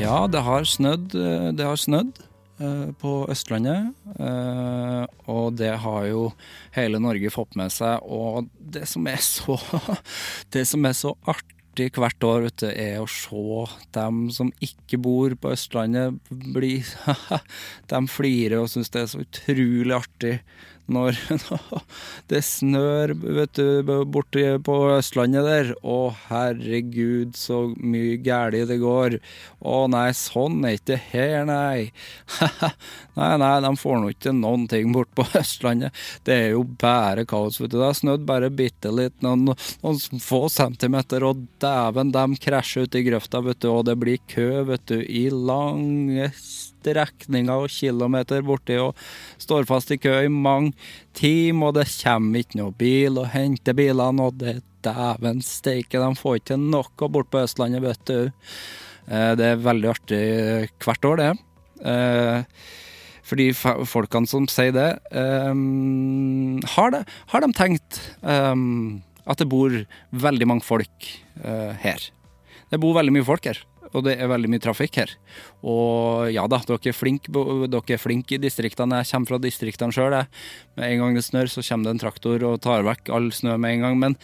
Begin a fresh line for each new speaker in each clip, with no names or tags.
Ja, det har snødd. eh, Det har snødd eh, på Østlandet. eh, Og det har jo hele Norge fått med seg. Og det som er så, det som er så artig hvert år, vet du, er å se dem som ikke bor på Østlandet, bli De flirer og syns det er så utrolig artig når det snør vet du, borti på Østlandet der. Å, herregud, så mye gæli det går. Å nei, sånn er ikke det her, nei. nei, nei, de får nå ikke til noen ting bort på Østlandet. Det er jo bare kaos, vet du. Det har snødd bare bitte litt, noen, noen få centimeter, og dæven, de krasjer ut i grøfta, vet du, og det blir kø, vet du, i lange strekninger og kilometer borti og står fast i kø i mange timer, og det kommer ikke noe bil og henter bilene, og det dæven steike, de får ikke til noe bort på Østlandet, vet du. Eh, Det er veldig artig eh, hvert år, det. Eh, For de fa- folkene som sier det, eh, har, det har de tenkt eh, at det bor veldig mange folk eh, her. Det bor veldig mye folk her, og det er veldig mye trafikk her. Og ja da, dere er flinke, bo- dere er flinke i distriktene. Jeg kommer fra distriktene sjøl. Med en gang det snør, så kommer det en traktor og tar vekk all snø med en gang. Men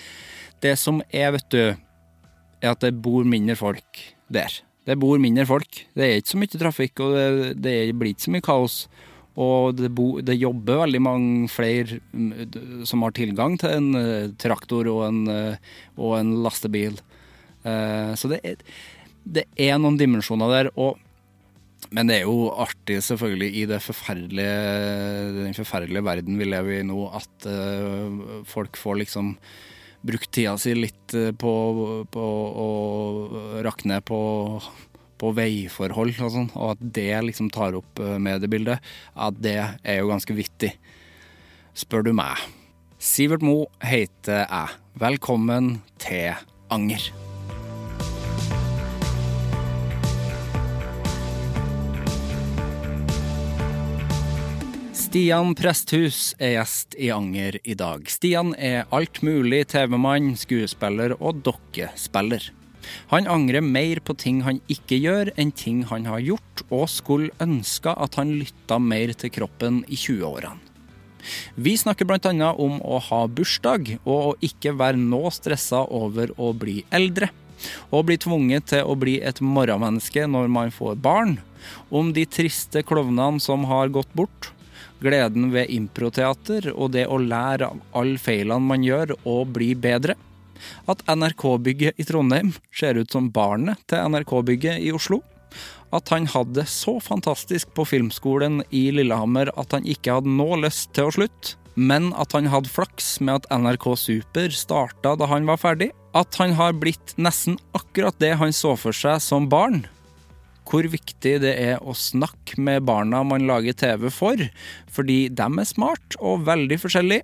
det som er, vet du, er at det bor mindre folk der. Det bor mindre folk. Det er ikke så mye trafikk, og det, det blir ikke så mye kaos. Og det, bo, det jobber veldig mange flere mm, d- som har tilgang til en eh, traktor og en, eh, og en lastebil. Eh, så det er, det er noen dimensjoner der. Og, men det er jo artig, selvfølgelig, i det forferdelige, den forferdelige verden vi lever i nå, at eh, folk får liksom brukt tida si litt eh, på, på å rakne på, på veiforhold og sånn, og at det liksom tar opp eh, mediebildet, at det er jo ganske vittig. Spør du meg. Sivert Mo heter jeg. Velkommen til Anger. Stian Presthus er gjest i Anger i dag. Stian er alt mulig TV-mann, skuespiller og dokkespiller. Han angrer mer på ting han ikke gjør, enn ting han har gjort, og skulle ønske at han lytta mer til kroppen i 20-årene. Vi snakker bl.a. om å ha bursdag, og å ikke være nå stressa over å bli eldre. Og bli tvunget til å bli et morgenmenneske når man får barn. Om de triste klovnene som har gått bort. Gleden ved improteater og det å lære av alle feilene man gjør, og bli bedre. At NRK-bygget i Trondheim ser ut som barnet til NRK-bygget i Oslo at han hadde det så fantastisk på filmskolen i Lillehammer at han ikke hadde nå lyst til å slutte, men at han hadde flaks med at NRK Super starta da han var ferdig. At han har blitt nesten akkurat det han så for seg som barn. Hvor viktig det er å snakke med barna man lager TV for, fordi de er smart og veldig forskjellig.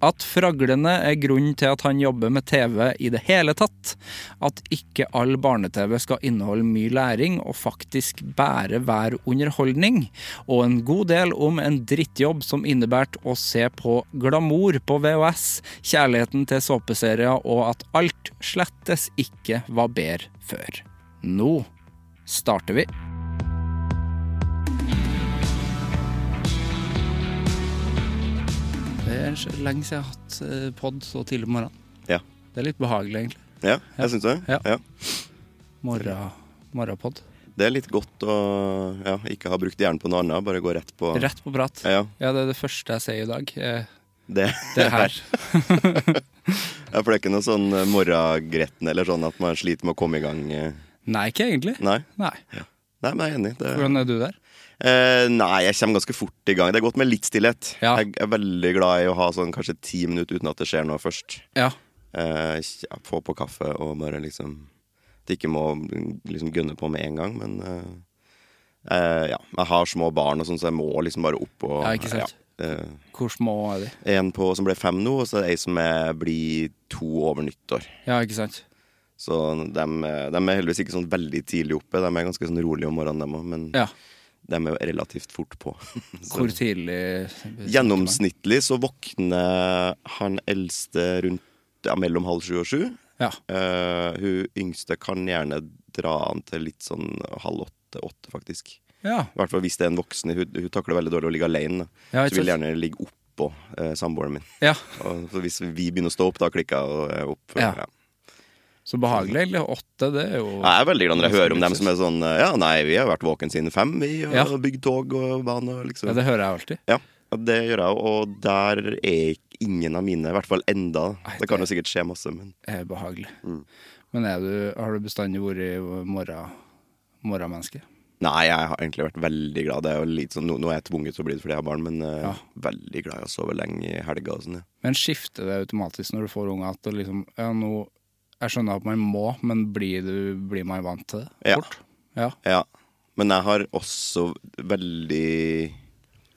At fraglene er grunnen til at han jobber med TV i det hele tatt. At ikke all barne-TV skal inneholde mye læring og faktisk bare være underholdning. Og en god del om en drittjobb som innebært å se på glamour på VHS, kjærligheten til såpeserier og at alt slettes ikke var bedre før. Nå starter vi. Det er så lenge siden jeg har hatt eh, pod så tidlig på morgenen.
Ja.
Det er litt behagelig, egentlig.
Ja, jeg syns det.
Ja.
Ja.
Morgen, morgenpod.
Det er litt godt å ja, ikke ha brukt hjernen på noe annet, bare gå rett på
Rett på prat.
Ja,
Ja, det er det første jeg sier i dag. eh,
det.
Det er her.
Ja, for det er ikke noe sånn eh, morgengretten eller sånn at man sliter med å komme i gang. eh.
Nei, ikke egentlig.
Nei,
Nei.
nei men jeg er enig. Det,
Hvordan er du der?
eh, nei, jeg kommer ganske fort i gang. Det er godt med litt stillhet.
Ja.
Jeg er veldig glad i å ha sånn kanskje ti minutter uten at det skjer noe først.
Ja.
Eh, ja, få på kaffe og bare liksom At jeg ikke må liksom gønne på med en gang, men eh, eh, Ja. Jeg har små barn og sånn, så jeg må liksom bare opp og
Ja, ikke sant.
ja, eh,
Hvor små er de?
En på, som ble fem nå, og så er det ei som er, blir to over nyttår.
Ja, ikke sant.
Så de, er heldigvis ikke sånn veldig tidlig oppe. De er ganske sånn rolig om morgenen, dem òg, men
Ja.
de er relativt fort på. Så,
Hvor tidlig
gjennomsnittlig så våkner han eldste rundt ja, mellom halv sju og sju.
Ja.
Eh, hun yngste kan gjerne dra an til litt sånn halv åtte-åtte, faktisk.
ja.
I hvert fall hvis det er en voksen. Hun, hun takler veldig dårlig å ligge alene. da.
Ja, ikke
så vil
sant.
gjerne ligge oppå eh, samboeren min.
ja.
Og så hvis vi begynner å stå opp, da klikker jeg og- opp.
Ja.
Ja.
Så behagelig, egentlig. Åtte, det er jo
Jeg er veldig glad når jeg hører om dem som er sånn Ja, nei, vi har vært våken siden fem, vi, og
Ja.
bygd tog og bane og liksom.
Ja,
Ja,
det hører jeg alltid.
det, gjør jeg, jo, og der er ingen av mine, i hvert fall enda.
Nei,
Det kan jo
det-
sikkert skje masse, men
Det er behagelig.
Mm.
Men er du, har du bestandig vært morgen, morgenmenneske?
Nei, jeg har egentlig vært veldig glad. Det er jo litt sånn, nå, nå er jeg tvunget til å bli det fordi jeg har barn, men eh,
Ja.
veldig glad i å sove lenge i helga og sånn. Ja.
Men skifter det automatisk når du får unger? At det liksom, ja, nå, jeg skjønner at man må, men blir, du, blir man vant til det
Ja.
fort? Ja.
Ja. Men jeg har også veldig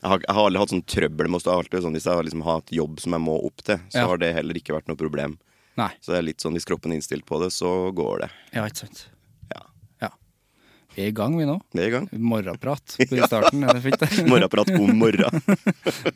jeg har, jeg har aldri hatt sånn trøbbel med å stå alltid sånn. Hvis jeg har liksom hatt jobb som jeg må opp til, så
Ja.
har det heller ikke vært noe problem.
Nei.
Så det er litt sånn, hvis kroppen er innstilt på det, så går det.
Ja, ikke sant.
Ja.
Ja. Vi er i gang, vi nå.
Vi er i gang.
Morgenprat på i starten, er det fint? det?
Morgenprat god morgen.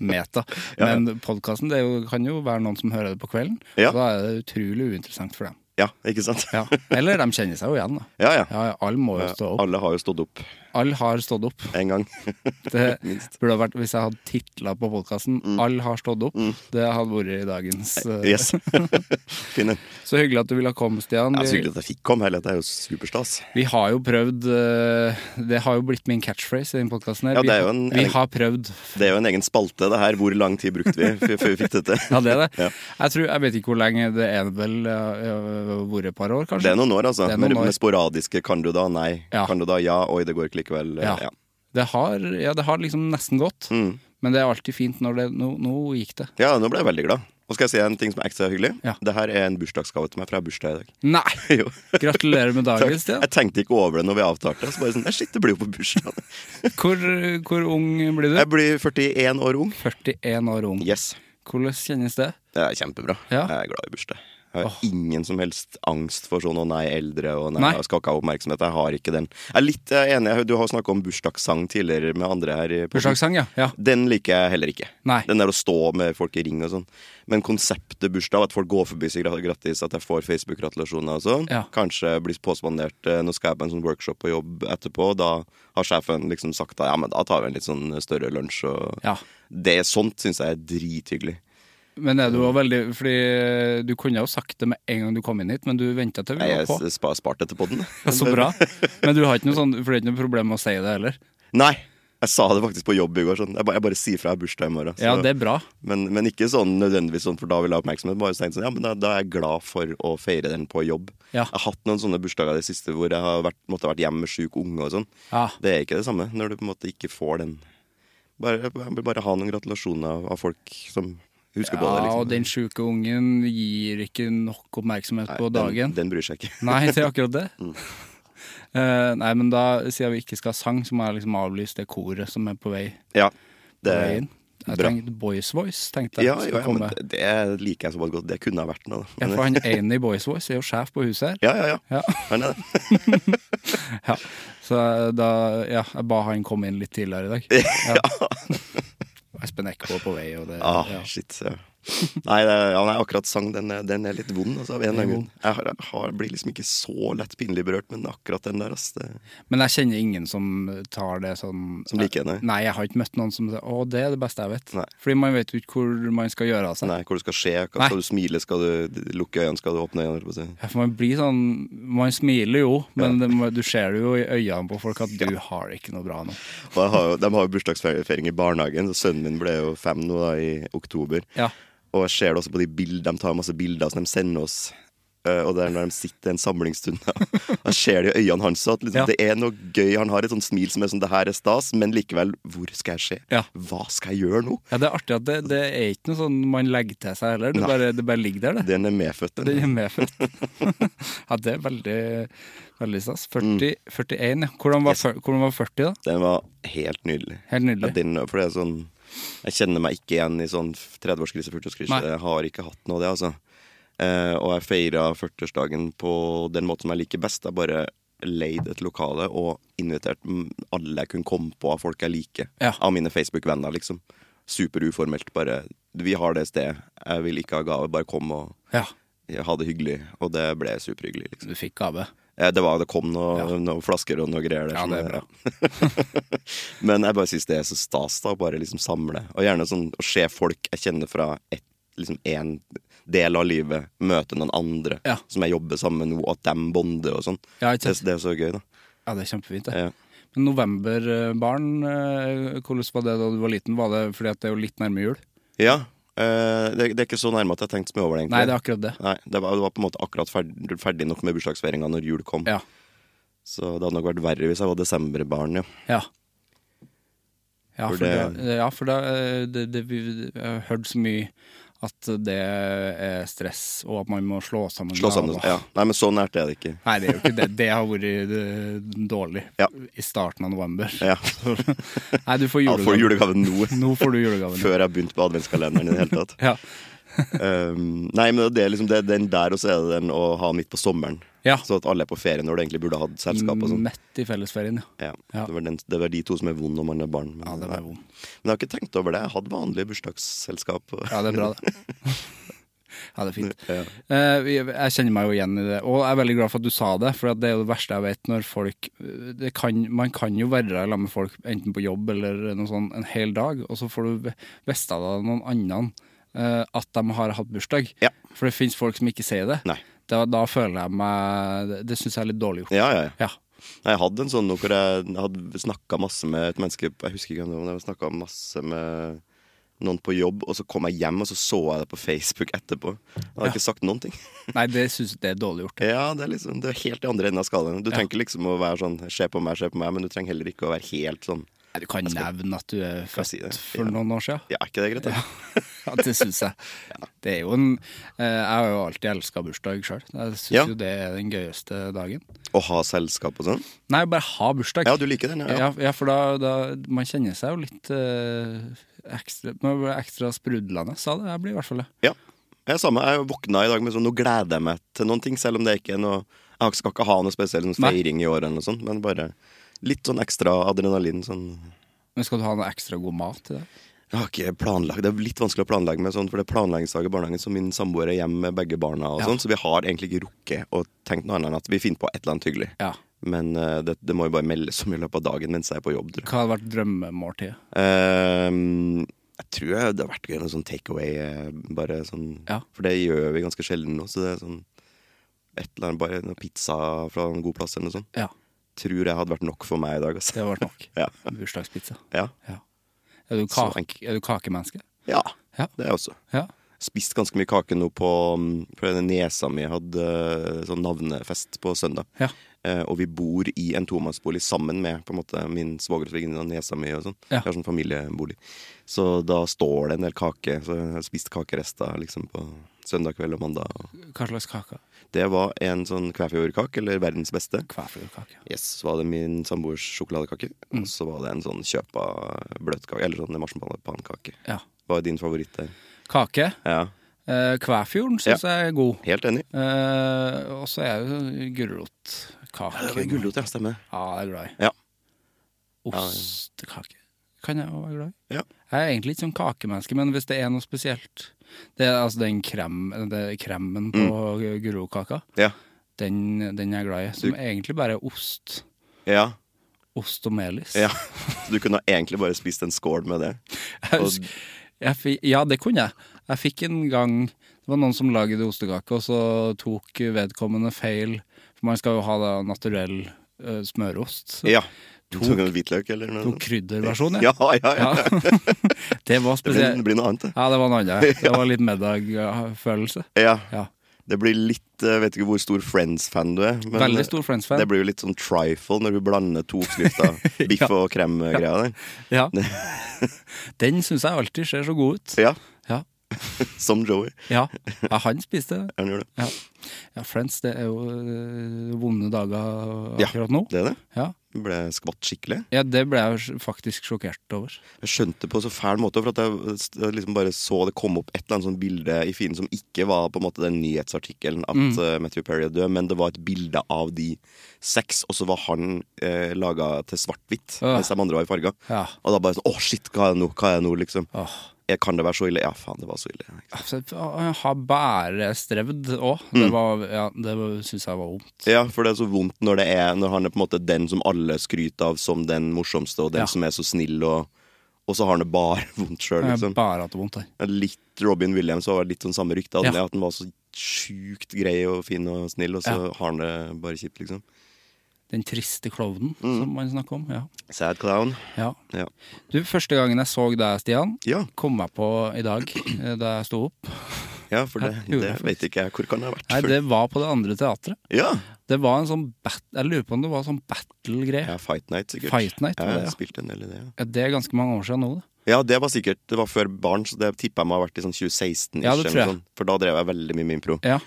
Meta. Men podkasten kan jo være noen som hører det på kvelden,
Ja.
og da er det utrolig uinteressant for dem.
Ja, ikke sant?
Ja. Eller de kjenner seg jo igjen, da.
Ja, ja.
Ja, ja, alle må jo stå opp.
Alle har jo stått opp
Alle har stått opp.
en gang.
Det burde ha vært, Hvis jeg hadde titla på podkasten
Mm.
'Alle har stått opp', det hadde vært i dagens eh,
Yes. Fin en.
Så hyggelig at du ville komme, Stian.
Det er så
Vi,
hyggelig at jeg fikk komme her. Dette er jo superstas.
vi har jo prøvd eh, Det har jo blitt min catchphrase i den podkasten her.
Ja, det er jo en-
vi, vi har prøvd.
Det er jo en egen spalte, det her. Hvor lang tid brukte vi f- før vi fikk dette?
Ja, det er det.
Ja.
Jeg, tror, jeg vet ikke hvor lenge det er vel uh, vært et par år, kanskje.
Det er noen år, altså.
Det er noen
med,
år.
med sporadiske 'kan du da', 'nei',
Ja.
'kan du da', 'ja', 'oi, det går ikke likevel'.
Ja.
Ja.
Det har, ja, det har liksom nesten gått.
Mm.
Men det er alltid fint når det Nå, nå gikk det.
ja, nå ble jeg veldig glad. Og skal jeg si en ting som er ekstra hyggelig?
Ja.
Det her er en bursdagsgave til meg, for jeg har bursdag i dag.
Nei!
Jo.
Gratulerer med
Takk.
dagen, Stian.
Jeg tenkte ikke over det når vi avtalte. Så bare sånn, «Nei, shit, det blir jo på bursdagen.
Hvor, hvor ung blir du?
Jeg blir 41 år ung.
41 år ung.
Yes.
Hvordan kjennes det?
Det er kjempebra.
Ja.
Jeg er glad i bursdag. Jeg har ingen som helst angst for sånn 'å nei, eldre' og nei,
Nei.
jeg skal ikke ha oppmerksomhet'. Jeg har ikke den. Jeg er litt eh, enig, du har snakka om bursdagssang tidligere med andre her. i podden.
Bursdagssang, ja. ja.
Den liker jeg heller ikke.
Nei.
Den der å stå med folk i ring og sånn. Men konseptet bursdag, at folk går forbi og sier gra- grattis, at jeg får Facebook-gratulasjoner og sånn.
Ja.
Kanskje blir påspandert eh, Nå skal jeg på en sånn workshop på jobb etterpå. Da har sjefen liksom sagt at ja, men da tar vi en litt sånn større lunsj og
Ja.
Det sånt syns jeg er drithyggelig.
Men er du også veldig Fordi eh, du kunne jo sagt det med en gang du kom inn hit, men du venta til vi
Jeg
var på.
s- spa- sparte etter podden.
Så bra. Men du har ikke noe sånn For det er ikke noe problem med å si det heller.
Nei. Jeg sa det faktisk på jobb i går. Sånn. Jeg, bare, jeg bare sier fra jeg har bursdag i morgen. så-
Ja, det er bra.
men, men ikke sånn nødvendigvis sånn, for da vil jeg ha oppmerksomhet. Bare tenkt sånn, ja, men da, da er jeg glad for å feire den på jobb.
Ja.
Jeg har hatt noen sånne bursdager i det siste hvor jeg har vært, måtte ha vært hjemme med sjuk unge og sånn.
Ja.
Det er ikke det samme når du på en måte ikke får den. Bare, jeg vil bare ha noen gratulasjoner av- av folk som husker på det.
Ja,
Liksom.
og den sjuke ungen gir ikke nok oppmerksomhet
Nei,
på dagen.
Den, Mm. den bryr seg ikke.
Nei, det er akkurat det. Eh, nei, men da, siden vi ikke skal ha sang, så må jeg liksom avlyse det koret som er på vei,
Ja,
på
det,
vei inn. Jeg
Bra.
tenkte Boys Voice. tenkte jeg
Ja,
skulle
ja, ja, men
komme.
det- det liker jeg såpass godt. Det kunne ha vært noe.
Ja, for han Amy Boys Voice er jo sjef på huset her.
Ja, ja, ja.
Ja.
Han er det.
Ja. Så eh, da ja, jeg ba han komme inn litt tidligere i dag. Ja. Espen Eckbo er på vei, og det
Ah,
ja.
shit. ja. Nei, det, ja, nei, akkurat sang, den, er- den er litt vond, altså, av en eller annen grunn. Jeg har, har, blir liksom ikke så lett pinlig berørt, men akkurat den der, ass. Det,
Men jeg kjenner ingen som tar det sånn
Som liker henne?
Nei, jeg har ikke møtt noen som sier 'Å, det er det beste jeg vet'.
Nei.
Fordi man vet jo ikke hvor man skal gjøre av seg.
nei, hvor du skal skje, hva
Nei.
skal du smile, skal du d- lukke øynene, skal du åpne øynene, holdt på å si.
Ja, for man blir sånn Man smiler jo, men det, må- du ser det jo i øynene på folk at du har det ikke noe bra nå.
Og jeg har, jo- de har jo bursdagsfeiring i barnehagen, så sønnen min ble jo fem nå da, i oktober.
Ja.
Og jeg ser det også på de bildene, de tar masse bilder som de sender oss. eh, Og det er når de sitter i en samlingsstund. da. Da ser det i øynene hans at liksom,
Ja.
det er noe gøy. Han har et sånt smil som er sånn 'det her er stas', men likevel, hvor skal jeg se?
Ja.
Hva skal jeg gjøre nå?
Ja, Det er artig at det, det er ikke noe sånn man legger til seg heller. Det
Nei.
bare, det bare ligger der, det.
Den er medfødt, den.
Det er medfødt. ja, det er veldig, veldig stas.
Mm.
40, 41, ja. Hvordan var, fyr- hvordan var 40, da?
Den var helt nydelig.
Helt nydelig.
Ja, den, for det er sånn Jeg kjenner meg ikke igjen i sånn 30-årskrise, 40-årskrise.
Nei.
Jeg har ikke hatt noe av det, altså. Eh, og jeg feira 40-årsdagen på den måten som jeg liker best. Jeg bare leid et lokale og invitert mm, alle jeg kunne komme på av folk jeg liker.
Ja.
Av mine Facebook-venner, liksom. Super uformelt. Bare Vi har det stedet. Jeg vil ikke ha gave. Bare kom og
Ja,
ha det hyggelig. Og det ble superhyggelig, liksom.
du fikk gave.
Eh, Det, var, det kom noen noe flasker og noe greier der.
Ja,
som
det er bra.
Men jeg bare syns det er så stas, da. å Bare liksom samle. Og gjerne sånn å se folk jeg kjenner fra ett liksom en del av livet, møte noen andre
Ja.
som jeg jobber sammen med nå, at dem bonder og sånn.
Ja, ikke
det,
sant?
det er så gøy, da.
Ja, det er kjempefint, det.
Ja.
Men novemberbarn, eh, hvordan var det da du var liten? Var det fordi at det er jo litt nærme jul?
ja eh, det, det er ikke så nærme at jeg har tenkt så mye over det, egentlig.
Nei, det er akkurat det.
Nei, det var, det var på en måte akkurat ferdig, ferdig nok med bursdagsfeiringa når jul kom.
Ja.
Så det hadde nok vært verre hvis jeg var desemberbarn, ja.
Ja. Ja,
For
for,
det-
det, ja, for det, det, det, vi- Jeg har hørt så mye at det er stress, og at man må slå sammen
Slå sammen.
gaver.
Ja. Nei, men så nært er det ikke.
Nei, det er jo ikke det. Det har vært eh, dårlig
Ja.
i starten av november.
Ja.
Nei, du får
Ja, får
julegave.
julegave nå.
Nå får du julegaven.
Før jeg begynte på adventskalenderen i det hele tatt.
Ja.
Um, nei, men det er liksom det, er den der, og så er det den å ha midt på sommeren.
ja.
Så at alle er på ferie når du egentlig burde hatt selskap og sånn.
Mett i fellesferien, ja.
Ja,
Ja.
det, var den, det var de to som er vond når man er barn. Men,
Ja, den
nei.
er vond.
men jeg har ikke tenkt over det. Jeg hadde vanlig bursdagsselskap. og-
Ja, det er bra, det. Ja, det er fint.
Ja.
Eh, vi- Jeg kjenner meg jo igjen i det, og jeg er veldig glad for at du sa det, for at det er jo det verste jeg vet når folk eh, det kan, Man kan jo være sammen med folk enten på jobb eller noe sånt en hel dag, og så får du ve- vite av deg noen annen eh, at de har hatt bursdag.
Ja.
For det finnes folk som ikke sier det.
Nei.
Da, da føler jeg meg Det, det syns jeg er litt dårlig gjort.
Ja, ja, ja.
Ja.
Nei, Jeg hadde en sånn nå hvor jeg hadde snakka masse med et menneske Jeg husker ikke hvem det var, men jeg snakka masse med noen på jobb, og så kom jeg hjem, og så så jeg det på Facebook etterpå. Jeg hadde ikke sagt noen ting.
Nei, det syns jeg det er dårlig gjort.
Ja, det er liksom Det er helt i andre enden av skalaen. Du trenger ikke liksom å være sånn Se på meg, se på meg, men du trenger heller ikke å være helt sånn
Nei, Du kan nevne at du er
jeg
født
si det?
for
Ja.
noen år siden.
Ja, er ikke det greit? da?
Ja, det syns jeg. Det er jo en eh, Jeg har jo alltid elska bursdag sjøl. Jeg syns
Ja.
jo det er den gøyeste dagen.
Å ha selskap og sånn?
Nei, bare ha bursdag.
Ja, du liker den? Ja.
Ja, ja, for da, da Man kjenner seg jo litt eh, ekstra Man blir ekstra sprudlende, sa det. Jeg blir i hvert fall det.
ja. Jeg er samme. Jeg våkna i dag med sånn Nå gleder jeg meg til noen ting, selv om det ikke er noe Jeg skal ikke ha noe spesiell sånn
Nei.
feiring i år eller noe sånt, men bare litt sånn ekstra adrenalin sånn
Men skal du ha noe ekstra god mat til det?
Jeg har ikke planlagt Det er litt vanskelig å planlegge med sånn, for det er planleggingsdag i barnehagen, så min samboer er hjemme med begge barna og
Ja.
sånn, så vi har egentlig ikke rukket å tenke noe annet enn at vi finner på et eller annet hyggelig.
Ja.
Men eh, det, det må jo bare meldes om i løpet av dagen mens jeg er på jobb. Tror jeg.
Hva hadde vært drømmemåltidet?
Ehm, jeg tror jeg det har vært gøy med sånn takeaway, eh, bare sånn
Ja.
For det gjør vi ganske sjelden nå, så det er sånn et eller annet, bare noe pizza fra en god plass eller noe sånt.
Ja,
Tror jeg hadde vært nok for meg i dag, altså.
det hadde vært nok.
Ja.
Bursdagspizza.
Ja.
Ja. Er du,
Så
kake, er du kakemenneske?
ja.
Ja.
Det er jeg også.
Ja.
Spist ganske mye kake nå på mm, For den nesa mi hadde eh, sånn navnefest på søndag.
Ja.
Eh, og vi bor i en tomannsbolig sammen med på en måte, min svogers venninne og niesa mi. og sånn.
Ja.
Vi har sånn familiebolig. Så da står det en del kake. Så jeg har spist kakerester liksom, på søndag kveld og mandag. og-
Hva slags kake?
Det var en sånn kvæfjordkake, eller verdens beste.
Kvæfjordkake.
Yes, så var det min samboers sjokoladekake. Og så var det en sånn kjøpa bløtkake, eller sånn marsipanpannkake.
Ja.
Hva er din favoritt der?
Kake.
Ja,
Eh, Kvæfjorden syns jeg er god.
Helt enig.
Eh, og så er jo gulrotkake.
Det var gulrot, ja. Stemmer.
Ja, jeg er glad i.
Ja.
Ostekake kan jeg òg være glad i.
Ja.
Jeg er egentlig ikke sånn kakemenneske, men hvis det er noe spesielt Det er altså den krem, det er kremmen på
Mm.
gulrotkaka,
Ja.
den, den er jeg glad i. Som egentlig bare er ost.
ja.
Ost og melis.
ja. Du kunne egentlig bare spist en skål med det.
Jeg husker, jeg fi- ja, det kunne jeg. Jeg fikk en gang Det var noen som lagde ostekake, og så tok vedkommende feil. For man skal jo ha da naturell eh, smørost.
Ja. Du tok en hvitløk eller noe?
Noen krydderversjon,
Ja, ja, ja.
det var
Det blir, det
spesielt.
blir noe annet, det.
Ja, det var noe annet. Det var litt middagfølelse.
Ja.
Ja.
Det blir litt eh, Vet ikke hvor stor Friends-fan du er. men-
Veldig stor Friends-fan.
Det blir jo litt sånn trifle når du blander to oppskrifter. Biff
Ja.
og krem-greia der.
Ja. Den syns jeg alltid ser så god ut.
Ja.
Ja.
Som Joey.
Ja, ja han spiste det.
Han gjør det.
Ja. ja, Friends, det er jo eh, vonde dager
Ja,
akkurat nå.
Det er det.
Ja.
Ble skvatt skikkelig.
ja, det ble jeg jo faktisk sjokkert over.
Jeg skjønte på så fæl måte, for at jeg eh, liksom bare så det komme opp et eller annet sånt bilde i feeden som ikke var på en måte den nyhetsartikkelen at
Mm.
eh, Matthew Perry er død, men det var et bilde av de seks, og så var han eh, laga til svart-hvitt,
Åh.
mens de andre var i farga.
Ah. Ja.
Og da bare sånn Å, shit, hva er det nå? Hva er det nå? Liksom.
Åh.
Eh, Kan det være så ille? Ja, faen, det var så ille.
Altså, jeg har bare strevd òg. Det, var- ja, det syns jeg var vondt.
Ja, for det er så vondt når det er Når han er på en måte den som alle skryter av som den morsomste, og den
Ja.
som er så snill, og, og så har han det bare vondt sjøl,
Jeg har
liksom.
bare hatt det vondt. jeg.
litt Robin Williams var litt sånn samme rykte.
Ja.
Ja. At han var så sjukt grei og fin og snill, og så
Ja.
har han det bare kjipt, liksom.
Den triste klovnen som man snakker om. Ja.
Sad clown.
ja.
Ja.
Du, første gangen jeg så deg, Stian,
Ja,
kom jeg på i dag eh, da jeg sto opp.
ja for det,
Ja, gjorde
det
jeg
vet ikke jeg. Hvor kan det ha vært
Nei,
før?
det var på det andre teatret.
Ja.
Det var en sånn bat Jeg lurer på om det var sånn battle-greie.
ja, Fight Night, sikkert.
Fight Night, var
jeg
det, ja.
spilte en del i det, ja.
Ja, Det er ganske mange år siden nå, det.
Ja, det var sikkert Det var før barn, så det tippa jeg må ha vært i sånn 2016. -ish,
Ja, det tror
eller
jeg.
Sånn, for da drev jeg veldig mye med impro.
Ja.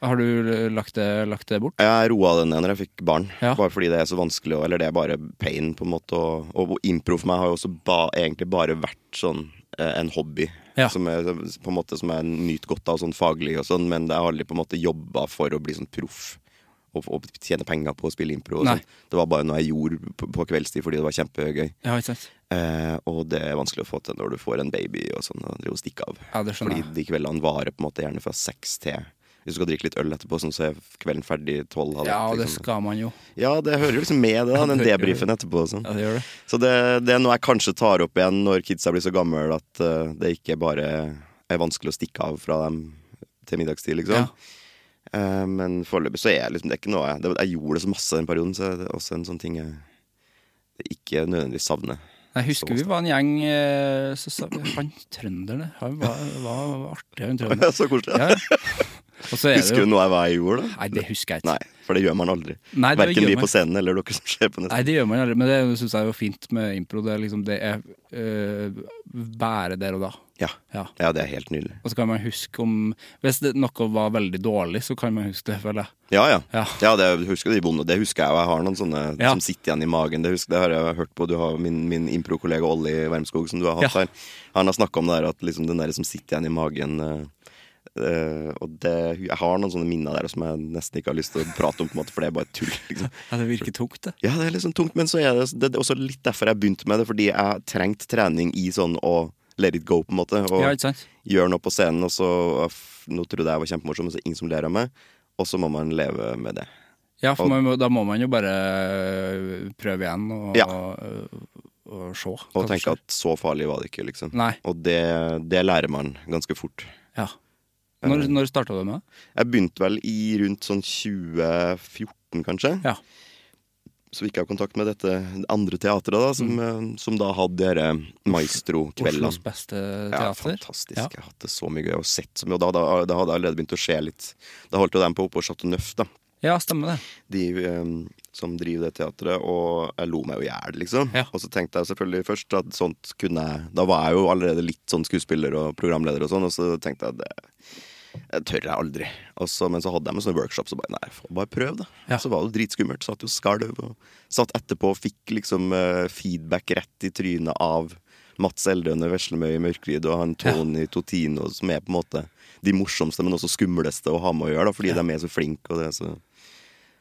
Har du eh, lagt det, lagt det bort?
Jeg roa den ned når jeg fikk barn,
Ja.
bare fordi det er så vanskelig. og- Eller det er bare pain, på en måte. Og, og, og impro for meg har jo også ba, egentlig bare vært sånn eh, en hobby.
Ja.
Som, jeg, på en måte, som jeg nyter godt av, sånn faglig og sånn, men jeg har aldri på en måte jobba for å bli sånn proff. Og, og tjene penger på å spille impro. Og
Nei.
sånn. det var bare noe jeg gjorde på, på kveldstid fordi det var kjempegøy.
Ja, ikke sant?
Eh, og det er vanskelig å få til når du får en baby og sånn, og driver og stikker av.
Ja, det skjønner
Fordi
jeg.
de kveldene varer på en måte gjerne fra seks til Hvis du skal drikke litt øl etterpå, sånn, så er kvelden ferdig tolv. halv
Ja,
ett,
det
liksom.
skal man jo.
ja, det hører jo liksom med det, da, den
hører jo-
debrifen etterpå. og Sånn.
Ja, det gjør det.
Så det, det er noe jeg kanskje tar opp igjen når kidsa blir så gamle at eh, det ikke bare er vanskelig å stikke av fra dem til middagstid, liksom.
Ja.
Eh, men foreløpig så er jeg liksom, det er ikke noe jeg det, Jeg gjorde det så masse den perioden, så det er også en sånn ting jeg ikke nødvendigvis savner.
Jeg husker vi var en gjeng eh, så sa vi, Han trønderne Han var, var, var artig, han trønderen.
så koselig.
Ja. Og så er det
Husker
jo
du noe jeg var i jul, da?
Nei, det husker jeg ikke.
Nei, for det gjør man aldri.
Nei, det
Verken
gjør
vi
man.
på scenen eller dere som ser på
Nei,
neste.
det gjør man aldri, men det syns jeg er jo fint med impro. Det er liksom det er øh, bare der og da.
Ja.
Ja.
ja, det er helt nydelig.
Og så kan man huske om Hvis det, noe var veldig dårlig, så kan man huske det, føler jeg.
Ja, ja.
Ja.
Ja, det husker de vonde. Det husker jeg, og jeg har noen sånne
Ja.
som sitter igjen i magen. Det, husker, det har jeg hørt på. Du har min, min impro-kollega Olli Wermskog, som du har hatt
Ja.
her. Han har snakka om det her, at liksom den der som sitter igjen i magen eh, eh, og det, Jeg har noen sånne minner der som jeg nesten ikke har lyst til å prate om, på en måte, for det er bare tull. Liksom.
Ja, det virker tungt, det.
Ja, det er litt sånn tungt, men så er det, det er også litt derfor jeg begynte med det. Fordi jeg trengte trening i sånn å let it go, på en måte. Og
Ja, ikke sant?
gjør noe på scenen, og så f- Nå trodde jeg jeg var kjempemorsom, og så er det ingen som ler av meg. Og så må man leve med det.
Ja, for man, må- da må man jo bare øh, prøve igjen og,
Ja.
og, og, se. hva
Og
som
tenke
skjer.
at så farlig var det ikke, liksom.
Nei.
Og det, det lærer man ganske fort.
Ja. Når, når starta du med det?
Jeg begynte vel i rundt sånn 2014, kanskje.
Ja.
Så fikk jeg kontakt med dette andre teatret, da,
Mm.
som, eh, som da hadde dere maestro-kveldene.
Oslos beste
Ja,
eh, teater.
fantastisk.
Ja.
Jeg har hatt det så mye gøy og sett så mye. Og da, da, da hadde jeg allerede begynt å skje litt. Da holdt jo dem på oppe på Chateau Neuf, da.
Ja, stemmer det.
De eh, som driver det teatret. Og jeg lo meg jo i hjel, liksom.
Ja.
Og så tenkte jeg selvfølgelig først at sånt kunne jeg Da var jeg jo allerede litt sånn skuespiller og programleder og sånn, og så tenkte jeg at det jeg tør jeg aldri. Og så, men så hadde jeg med sånne workshops og bare nei, få bare prøv, da.
Ja.
Så var det jo dritskummelt. Satt jo og skalv. Og satt etterpå og fikk liksom eh, feedback rett i trynet av Mats Eldøne Veslemøy i Mørkryd og han Tony Totino, som er på en måte de morsomste, men også skumleste å ha med å gjøre, da, fordi de er så flinke. Og det, er så...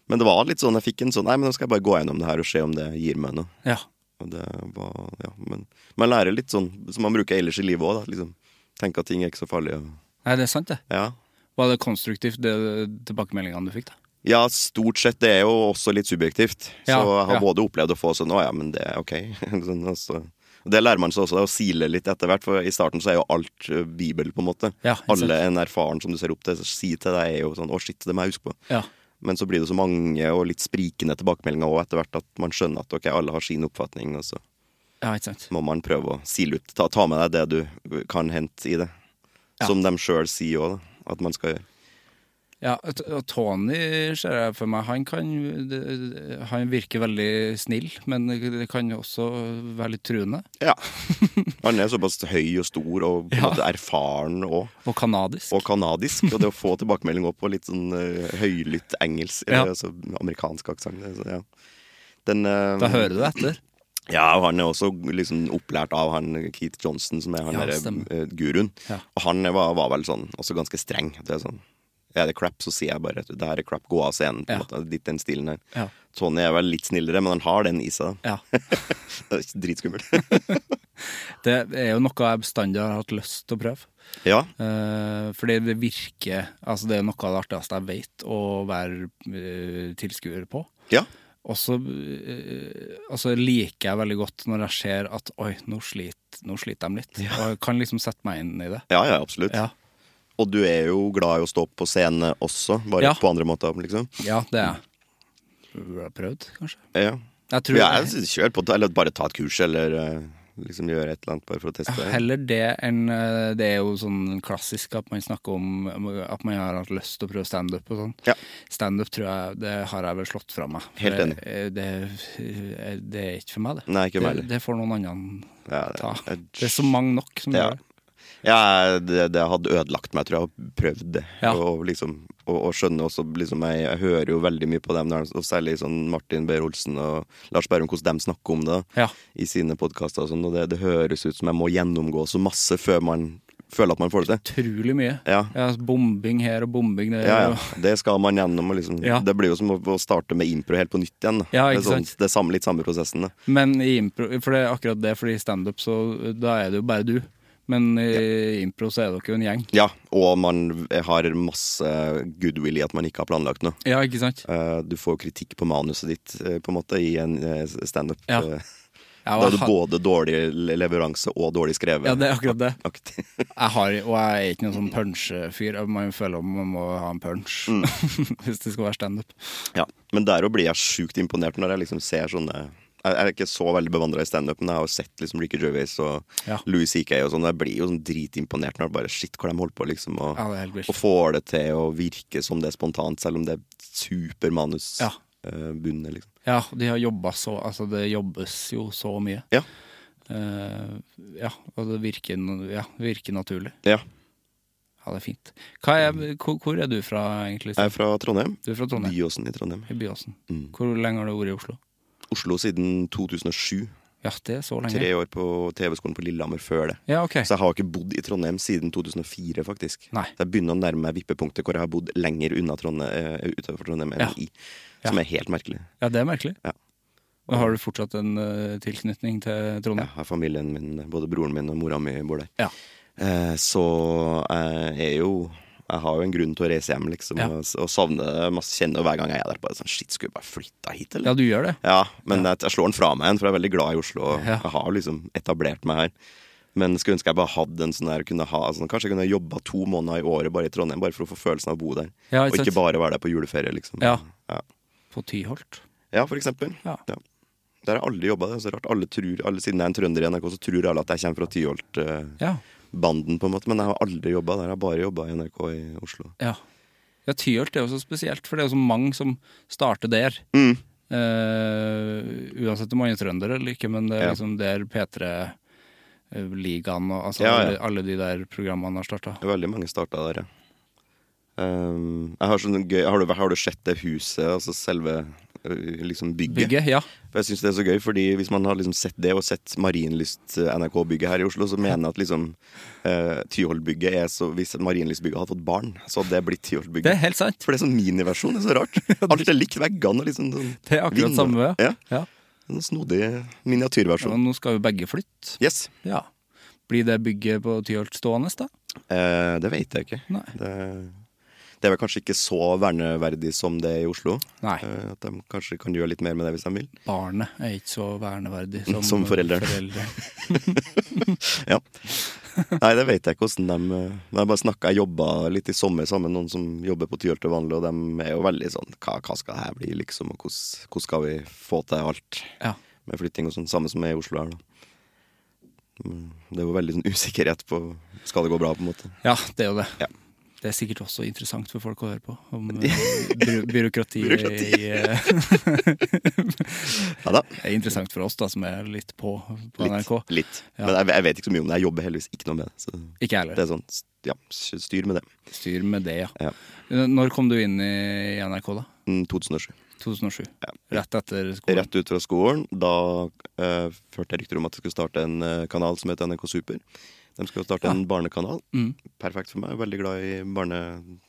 Men det var litt sånn, jeg fikk en sånn Nei, men nå skal jeg bare gå gjennom det her og se om det gir meg noe.
Ja.
Og det var, ja, men Man lærer litt sånn som man bruker ellers i livet òg, da. Liksom. Tenke at ting er ikke så farlig. Og,
Nei, det er sant, det.
ja.
Var det konstruktivt, det tilbakemeldingene du fikk, da?
ja, stort sett. Det er jo også litt subjektivt.
Ja,
så jeg har
ja.
både opplevd å få sånn Å ja, men det er ok. sånn, og så- og det lærer man seg også, da, å sile litt etter hvert. For i starten så er jo alt eh, Bibel, på en måte.
Ja, ikke sant.
Alle en erfaren som du ser opp til, sier til deg, er jo sånn Å, shit, det må jeg huske på.
Ja.
Men så blir det så mange og litt sprikende tilbakemeldinger òg etter hvert, at man skjønner at ok, alle har sin oppfatning, og så
Ja, ikke sant.
må man prøve å sile ut. Ta, ta med deg det du kan hente i det.
Ja.
Som de sjøl sier òg, at man skal gjøre.
Ja, og T- og Tony ser jeg for meg, han kan det- Han virker veldig snill, men det kan jo også være litt truende.
Ja. Han er såpass høy og stor og på en måte erfaren òg.
Og kanadisk.
Og kanadisk. Og det å få tilbakemelding òg på litt sånn eh, høylytt engelsk,
Ja.
eller altså amerikansk aksent det- så, ja. Den, eh,
Da hører du det etter.
Ja, og han er også liksom opplært av han Keith Johnson, som er han
Ja,
derre,
stemmer.
eh, guruen.
Ja.
Og han var, var vel sånn, også ganske streng. Det er sånn, er det crap, så sier jeg bare at det her er crap, gå av scenen. på en
Ja.
måte, Litt den stilen her.
Ja.
Tony er vel litt snillere, men han har den i seg. da.
Ja.
Det er Dritskummelt.
Det er jo noe jeg bestandig har hatt lyst til å prøve.
ja.
Eh, fordi det virker Altså, det er noe av det artigste jeg vet å være eh, tilskuer på.
ja.
Og så eh, altså liker jeg veldig godt når jeg ser at oi, nå sliter, nå sliter de litt. Og jeg kan liksom sette meg inn i det.
Ja, ja, absolutt.
Ja,
Og du er jo glad i å stå på scene også, bare
Ja.
på andre måter, liksom.
ja det er jeg. Burde jeg prøvd, kanskje?
Ja.
Jeg tror
Ja, jeg synes, kjør på, eller bare ta et kurs, eller eh, liksom gjøre et eller annet bare for å teste. det.
Heller det enn eh, Det er jo sånn klassisk at man snakker om at man har hatt lyst til å prøve standup og sånn.
Ja.
Standup tror jeg det har jeg vel slått fra meg.
Helt enig.
Det, det, det er ikke for meg, det.
Nei, ikke meg
det,
heller.
det får noen andre
Ja,
ta.
jeg-
Det er så mange nok som
Ja.
gjør det.
Ja, det, det hadde ødelagt meg, tror jeg, å prøvd det.
Ja.
Og, liksom, og, og skjønne også liksom, jeg, jeg hører jo veldig mye på dem, der, og særlig sånn Martin Beyer-Olsen og Lars Berrum, hvordan de snakker om det
Ja.
i sine podkaster. Og sånn, og det, det høres ut som jeg må gjennomgå så masse før man føler at man får det til.
Utrolig mye. altså,
Ja.
bombing her og bombing der.
Ja,
og-
ja. Det skal man gjennom. Og liksom,
Ja.
Det blir jo som å, å starte med impro helt på nytt igjen. Da.
Ja,
det
ikke
er sånn,
sant?
det er samme, litt samme prosessen. Da.
Men i impro For det er akkurat det, fordi i standup så da er det jo bare du. Men i impro så er dere jo en gjeng.
Ja, og man har masse goodwill i at man ikke har planlagt noe.
Ja, ikke sant?
Eh, Du får kritikk på manuset ditt eh, på en måte i en eh, standup.
Ja.
Eh,
Ja,
Da
og
er du
jeg har-
både dårlig le- leveranse og dårlig skrevet.
ja, det er akkurat det.
Aktig.
Jeg har, og jeg er ikke noen sånn punch-fyr. Man føler om man må ha en punch
Mm.
hvis det skal være standup.
ja. Men der òg blir jeg sjukt imponert når jeg liksom ser sånne Jeg er ikke så veldig bevandra i standup, men jeg har jo sett liksom Ricky Gervais og
Ja.
Louis CK og sånn. og Jeg blir jo sånn dritimponert når jeg bare Shit, hvor de holder på, liksom. Og,
Ja, det er helt vilt.
og får det til å virke som det er spontant, selv om det er supermanus.
Ja.
eh, bundet, liksom.
Ja, de har jobba så Altså, det jobbes jo så mye.
Ja.
Eh, ja, og det virker, ja, virker naturlig.
ja.
Ja, det er fint. Hva er, hvor, hvor er du fra, egentlig?
Jeg er fra Trondheim.
Du er fra Trondheim?
Byåsen i Trondheim. Mm.
I Byåsen. Hvor lenge har du vært i Oslo?
Oslo siden 2007.
Ja, det er så lenge.
Tre år på TV-skolen på Lillehammer før det.
Ja, ok.
Så jeg har ikke bodd i Trondheim siden 2004, faktisk.
Nei.
Så jeg begynner å nærme meg vippepunktet hvor jeg har bodd lenger unna Trondheim, eh, utenfor Trondheim enn
Ja.
i. Som er helt merkelig.
Ja, det er merkelig.
Ja.
Og har du fortsatt en eh, tilknytning til
Jeg
Trondheim?
har familien min, både broren min og mora mi bor der.
Ja.
Eh, så jeg er jo jeg har jo en grunn til å reise hjem, liksom,
Ja.
og, og savner masse kjenner og hver gang jeg er der. bare sånn, Shit, skulle jeg bare flytta hit, eller?
Ja, du gjør det?
Ja, men Jeg, jeg slår den fra meg igjen, for jeg er veldig glad i Oslo. Og
Ja.
Jeg har liksom etablert meg her. Men skulle ønske jeg bare hadde en sånn der kunne ha, sånn, Kanskje jeg kunne jobba to måneder i året bare i Trondheim, bare for å få følelsen av å bo der.
Ja,
og
ikke
ikke
sant.
bare være der på juleferie, liksom.
Ja.
ja.
På Tyholt?
Ja, for eksempel.
Ja.
Der har alle jobba, det er så rart. Alle tror, alle, siden jeg er en trønder i NRK, så tror alle at jeg kommer fra Tyholt-banden,
Ja.
på en måte. Men jeg har aldri jobba der. Jeg har bare jobba i NRK i Oslo.
Ja, ja Tyholt er jo så spesielt, for det er jo så mange som starter der.
Mm.
Eh, uansett om man er trønder eller ikke, men det er
Ja.
liksom der P3-ligaen og altså,
Ja, ja.
Alle, alle de der programmene har starta.
Veldig mange starta der, ja. Um, jeg har, sånn gøy, har, du, har du sett det huset, altså selve eh, liksom bygget?
Bygget, ja.
For jeg synes det er så gøy, fordi Hvis man har liksom sett det, og sett Marienlyst eh, NRK-bygget her i Oslo, så mener jeg at liksom eh, Tyholtbygget er så Hvis Marienlystbygget hadde fått barn, så hadde det blitt
Det er
Tyholtbygget.
helt sant.
For det er sånn miniversjon. Det er så rart. Alt er likt veggene. og Liksom, sånn,
Det er akkurat
vinduer.
samme.
Ja,
Ja.
en snodig
Ja,
miniatyrversjon.
nå skal jo begge flytte.
Yes.
Ja. Blir det bygget på Tyholt stående, da?
Eh, det vet jeg ikke.
Nei.
Det, det er vel kanskje ikke så verneverdig som det er i Oslo.
Nei.
Eh, at de kanskje kan gjøre litt mer med det hvis de vil.
Barnet er ikke så verneverdig som,
Som foreldrene.
foreldre.
Ja. Nei, det vet jeg ikke hvordan de eh, Jeg bare snakket, jeg jobba litt i sommer sammen med noen som jobber på Tyholt til vanlig, og de er jo veldig sånn Hva, hva skal det her bli, liksom? Og hvordan, hvordan skal vi få til alt
Ja.
med flytting og sånn? Samme som er i Oslo her, da. Men Det er jo veldig sånn usikkerhet på Skal det gå bra, på en måte.
ja, det er jo det.
Ja.
Det er sikkert også interessant for folk å høre på, om eh, by byråkrati,
Byråkrati.
i, eh,
Ja da.
Det er interessant for oss, da, som er litt på på
Litt.
NRK.
litt.
Ja.
Men jeg, jeg vet ikke så mye om det. Jeg jobber heldigvis ikke noe med det. Så
Ikke jeg
det
heller.
er sånn, ja, styr med det.
Styr med det, ja.
Ja.
Når kom du inn i NRK, da?
Mm, 2007.
2007?
Ja.
Rett etter skolen?
Rett ut fra skolen. Da eh, hørte jeg rykter om at jeg skulle starte en eh, kanal som heter NRK Super. De skulle starte en barnekanal.
Mm.
Perfekt for meg. Veldig glad i barne,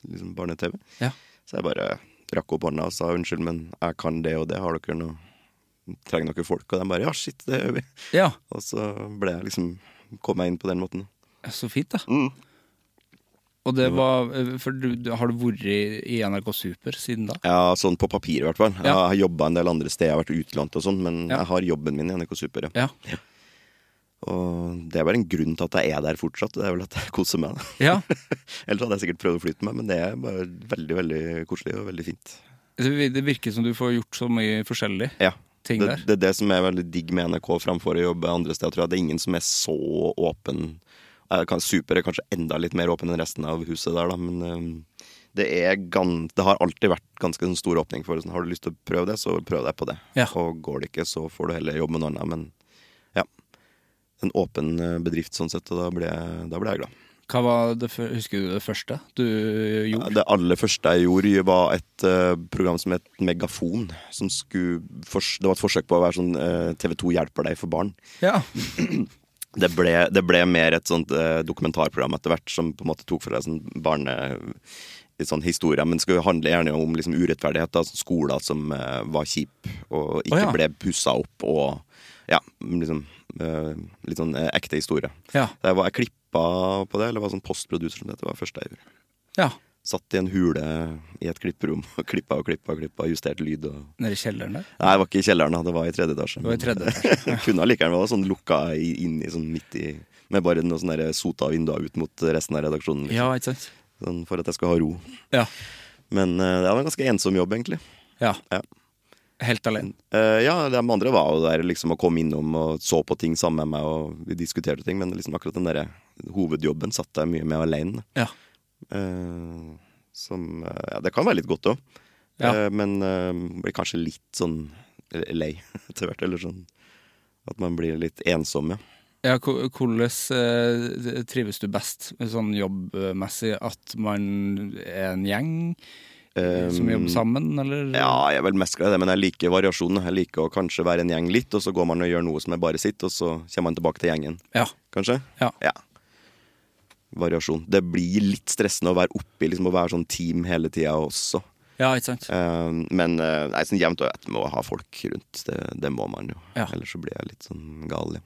liksom barne-TV.
Ja.
Så jeg bare rakk opp hånda og sa unnskyld, men jeg kan det og det. Har dere noe Trenger dere folk? Og de bare ja, shit, det gjør vi.
ja.
Og så ble jeg liksom Kom jeg inn på den måten.
Så fint, da.
Mm.
Og det var eh, For du, du har du vært i NRK Super siden da?
Ja, sånn på papir i hvert fall. Jeg
Ja.
har jobba en del andre steder, jeg har vært utlånt og sånn, men
Ja.
jeg har jobben min i NRK Super. Ja.
Ja.
Og det er vel en grunn til at jeg er der fortsatt, det er vel at jeg koser meg. da.
ja.
Ellers hadde jeg sikkert prøvd å flytte meg, men det er bare veldig, veldig koselig og veldig fint.
Det det virker som du får gjort så mye forskjellig.
Ja. Det,
Ting der.
det er det som er veldig digg med NRK framfor å jobbe andre steder, tror jeg. Det er ingen som er så åpen. Jeg kan- Super er kanskje enda litt mer åpen enn resten av huset der, da, men øhm, det, er gan det har alltid vært ganske sånn stor åpning for det. Sånn, Har du lyst til å prøve det, så prøv deg på det.
Ja.
Og går det ikke, så får du heller jobbe med noe annet. Men ja. En åpen eh, bedrift sånn sett, og da ble jeg, da ble jeg glad.
Hva var det, fø- husker du det første du gjorde?
Det aller første jeg gjorde, var et eh, program som het Megafon. Som skulle fors det var et forsøk på å være sånn TV 2 hjelper deg for barn.
Ja.
Det ble, det ble mer et sånt eh, dokumentarprogram etter hvert, som på en måte tok for deg sånn barne... litt Sånn historie, men det skulle handle gjerne om liksom urettferdighet. Da, sånn skoler som eh, var kjip og ikke
Å, ja.
ble pussa opp. Og ja, liksom eh, Litt sånn eh, ekte historie.
Ja.
Jeg, var, jeg klippa på det, eller var sånn postproducer som det heter. Det var det første jeg gjorde.
ja.
Satt i en hule i et klipperom og klippa og klippa og klippa, justert lyd og
Nede i kjelleren der?
Nei, det var ikke i kjelleren, da, det var i tredje etasje.
Det var i tredje etasje.
Men Kunne allikevel vært sånn lukka i- inn i sånn midt i Med bare noen sånne der sota vinduer ut mot resten av redaksjonen. Liksom.
Ja, ikke sant?
Sånn for at jeg skal ha ro.
Ja.
Men eh, det var en ganske ensom jobb, egentlig.
ja.
Ja.
Helt alene.
Eh, ja, de andre var jo der liksom og kom innom og så på ting sammen med meg og vi diskuterte ting, men liksom akkurat den der hovedjobben satt jeg mye med alene.
Ja.
Eh, som eh, ja, Det kan være litt godt òg,
Ja.
men eh, blir kanskje litt sånn lei etter hvert. Eller sånn at man blir litt ensom, ja.
Ja, ko- Hvordan eh, trives du best sånn jobbmessig? At man er en gjeng som jobber sammen, eller?
Ehm, Ja, jeg er vel mest glad i det, men jeg liker variasjonen. Jeg liker å kanskje være en gjeng litt, og så går man og gjør noe som er bare sitt, og så kommer man tilbake til gjengen,
Ja.
kanskje.
Ja.
Variasjon. Det blir litt stressende å være oppi, liksom å være sånn team hele tida også.
ja, ikke sant?
Eh, men eh, nei, sånn jevnt og jevnt må ha folk rundt. Det, det må man jo.
Ja.
Ellers så blir jeg litt sånn gal. Ja.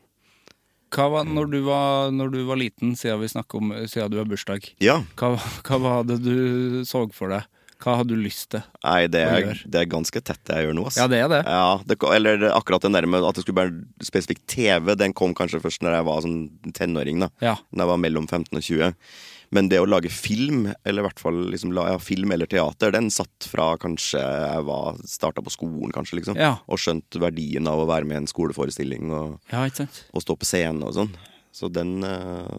Hva var, når, du var, når du var liten, siden vi snakker om siden du har bursdag,
Ja,
hva, hva var det du så for deg? Hva hadde du lyst til?
nei, det
Hva
er,
gjør?
det er ganske tett det jeg gjør nå. Ass.
Ja, det er det.
Ja, det, ko- eller det- akkurat den der med at det skulle være spesifikk TV, den kom kanskje først når jeg var sånn tenåring. da
Ja.
Når jeg var mellom 15 og 20. Men det å lage film, eller i hvert fall liksom, la- ja, film eller teater, den satt fra kanskje jeg var starta på skolen, kanskje, liksom.
Ja.
Og skjønt verdien av å være med i en skoleforestilling og,
Ja, ikke sant?
og stå på scenen og sånn. Så den eh,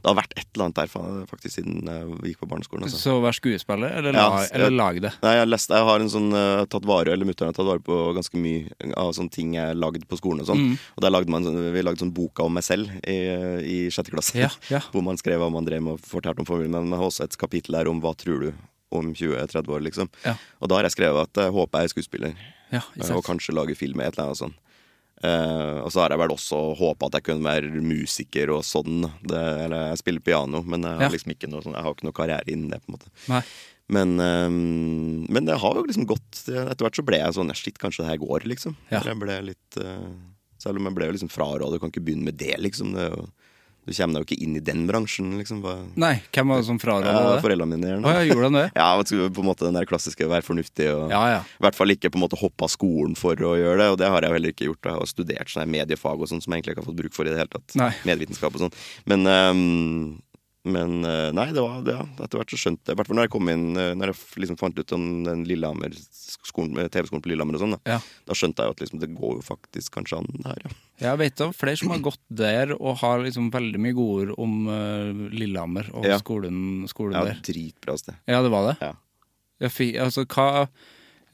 Det har vært et eller annet der fa- faktisk siden jeg gikk på barneskolen. Altså.
Så vær skuespiller, eller,
Ja,
la,
s-
eller lag det.
Nei, jeg, har lest, jeg har en sånn eh, tatt vare, eller mutter'n har tatt vare på ganske mye eh, av sånne ting jeg lagde på skolen og sånn.
Mm.
Og der lagde man, sånn- vi lagde sånn boka om meg selv i, i sjette klasse.
Ja, ja.
Hvor man skrev hva man drev med og fortalte om familien. Men jeg har også et kapittel der om hva tror du om 20-30 år, liksom.
Ja.
Og da har jeg skrevet at eh, jeg håper jeg er skuespiller, eh,
Ja, ikke sant?
og kanskje lage film med et eller annet sånt. Eh, og så har jeg vel også håpa at jeg kunne være musiker og sånn. Det, eller jeg spiller piano, men jeg har
Ja.
liksom ikke noe sånn Jeg har ikke noe karriere innen det, på en måte.
Nei.
Men, ehm, men det har jo liksom gått Etter hvert så ble jeg sånn Shit, kanskje det her går, liksom.
Ja.
Eller Jeg ble litt eh, Selv om jeg ble jo liksom frarådet, du kan ikke begynne med det, liksom. Det er jo, du kommer deg jo ikke inn i den bransjen, liksom. Hva,
Nei, hvem var det som fraråda
ja,
det?
foreldrene mine gjør
Å ja, gjorde han det?
Ja, vet du, på en måte den der klassiske 'vær fornuftig' og
Ja, ja.
i hvert fall ikke på en måte hoppe av skolen for å gjøre det, og det har jeg jo heller ikke gjort. Jeg har studert sånne mediefag og sånn som jeg egentlig ikke har fått bruk for i det hele tatt.
Nei.
Medvitenskap og sånn. Men, ehm, men eh, nei, det var det. Ja. Etter hvert så skjønte jeg, i hvert fall når jeg kom inn, eh, når jeg f- liksom fant ut om den Lillehammer skolen- eh, TV-skolen på Lillehammer og sånn, da,
Ja.
da skjønte jeg jo at liksom, det går jo faktisk kanskje an her, ja.
Jeg vet om flere som har gått der og har liksom veldig mye godord om eh, Lillehammer og
Ja.
skolen, skolen
Ja,
der.
dritbra sted.
Ja, det var det.
Ja.
Jeg fi- altså, hva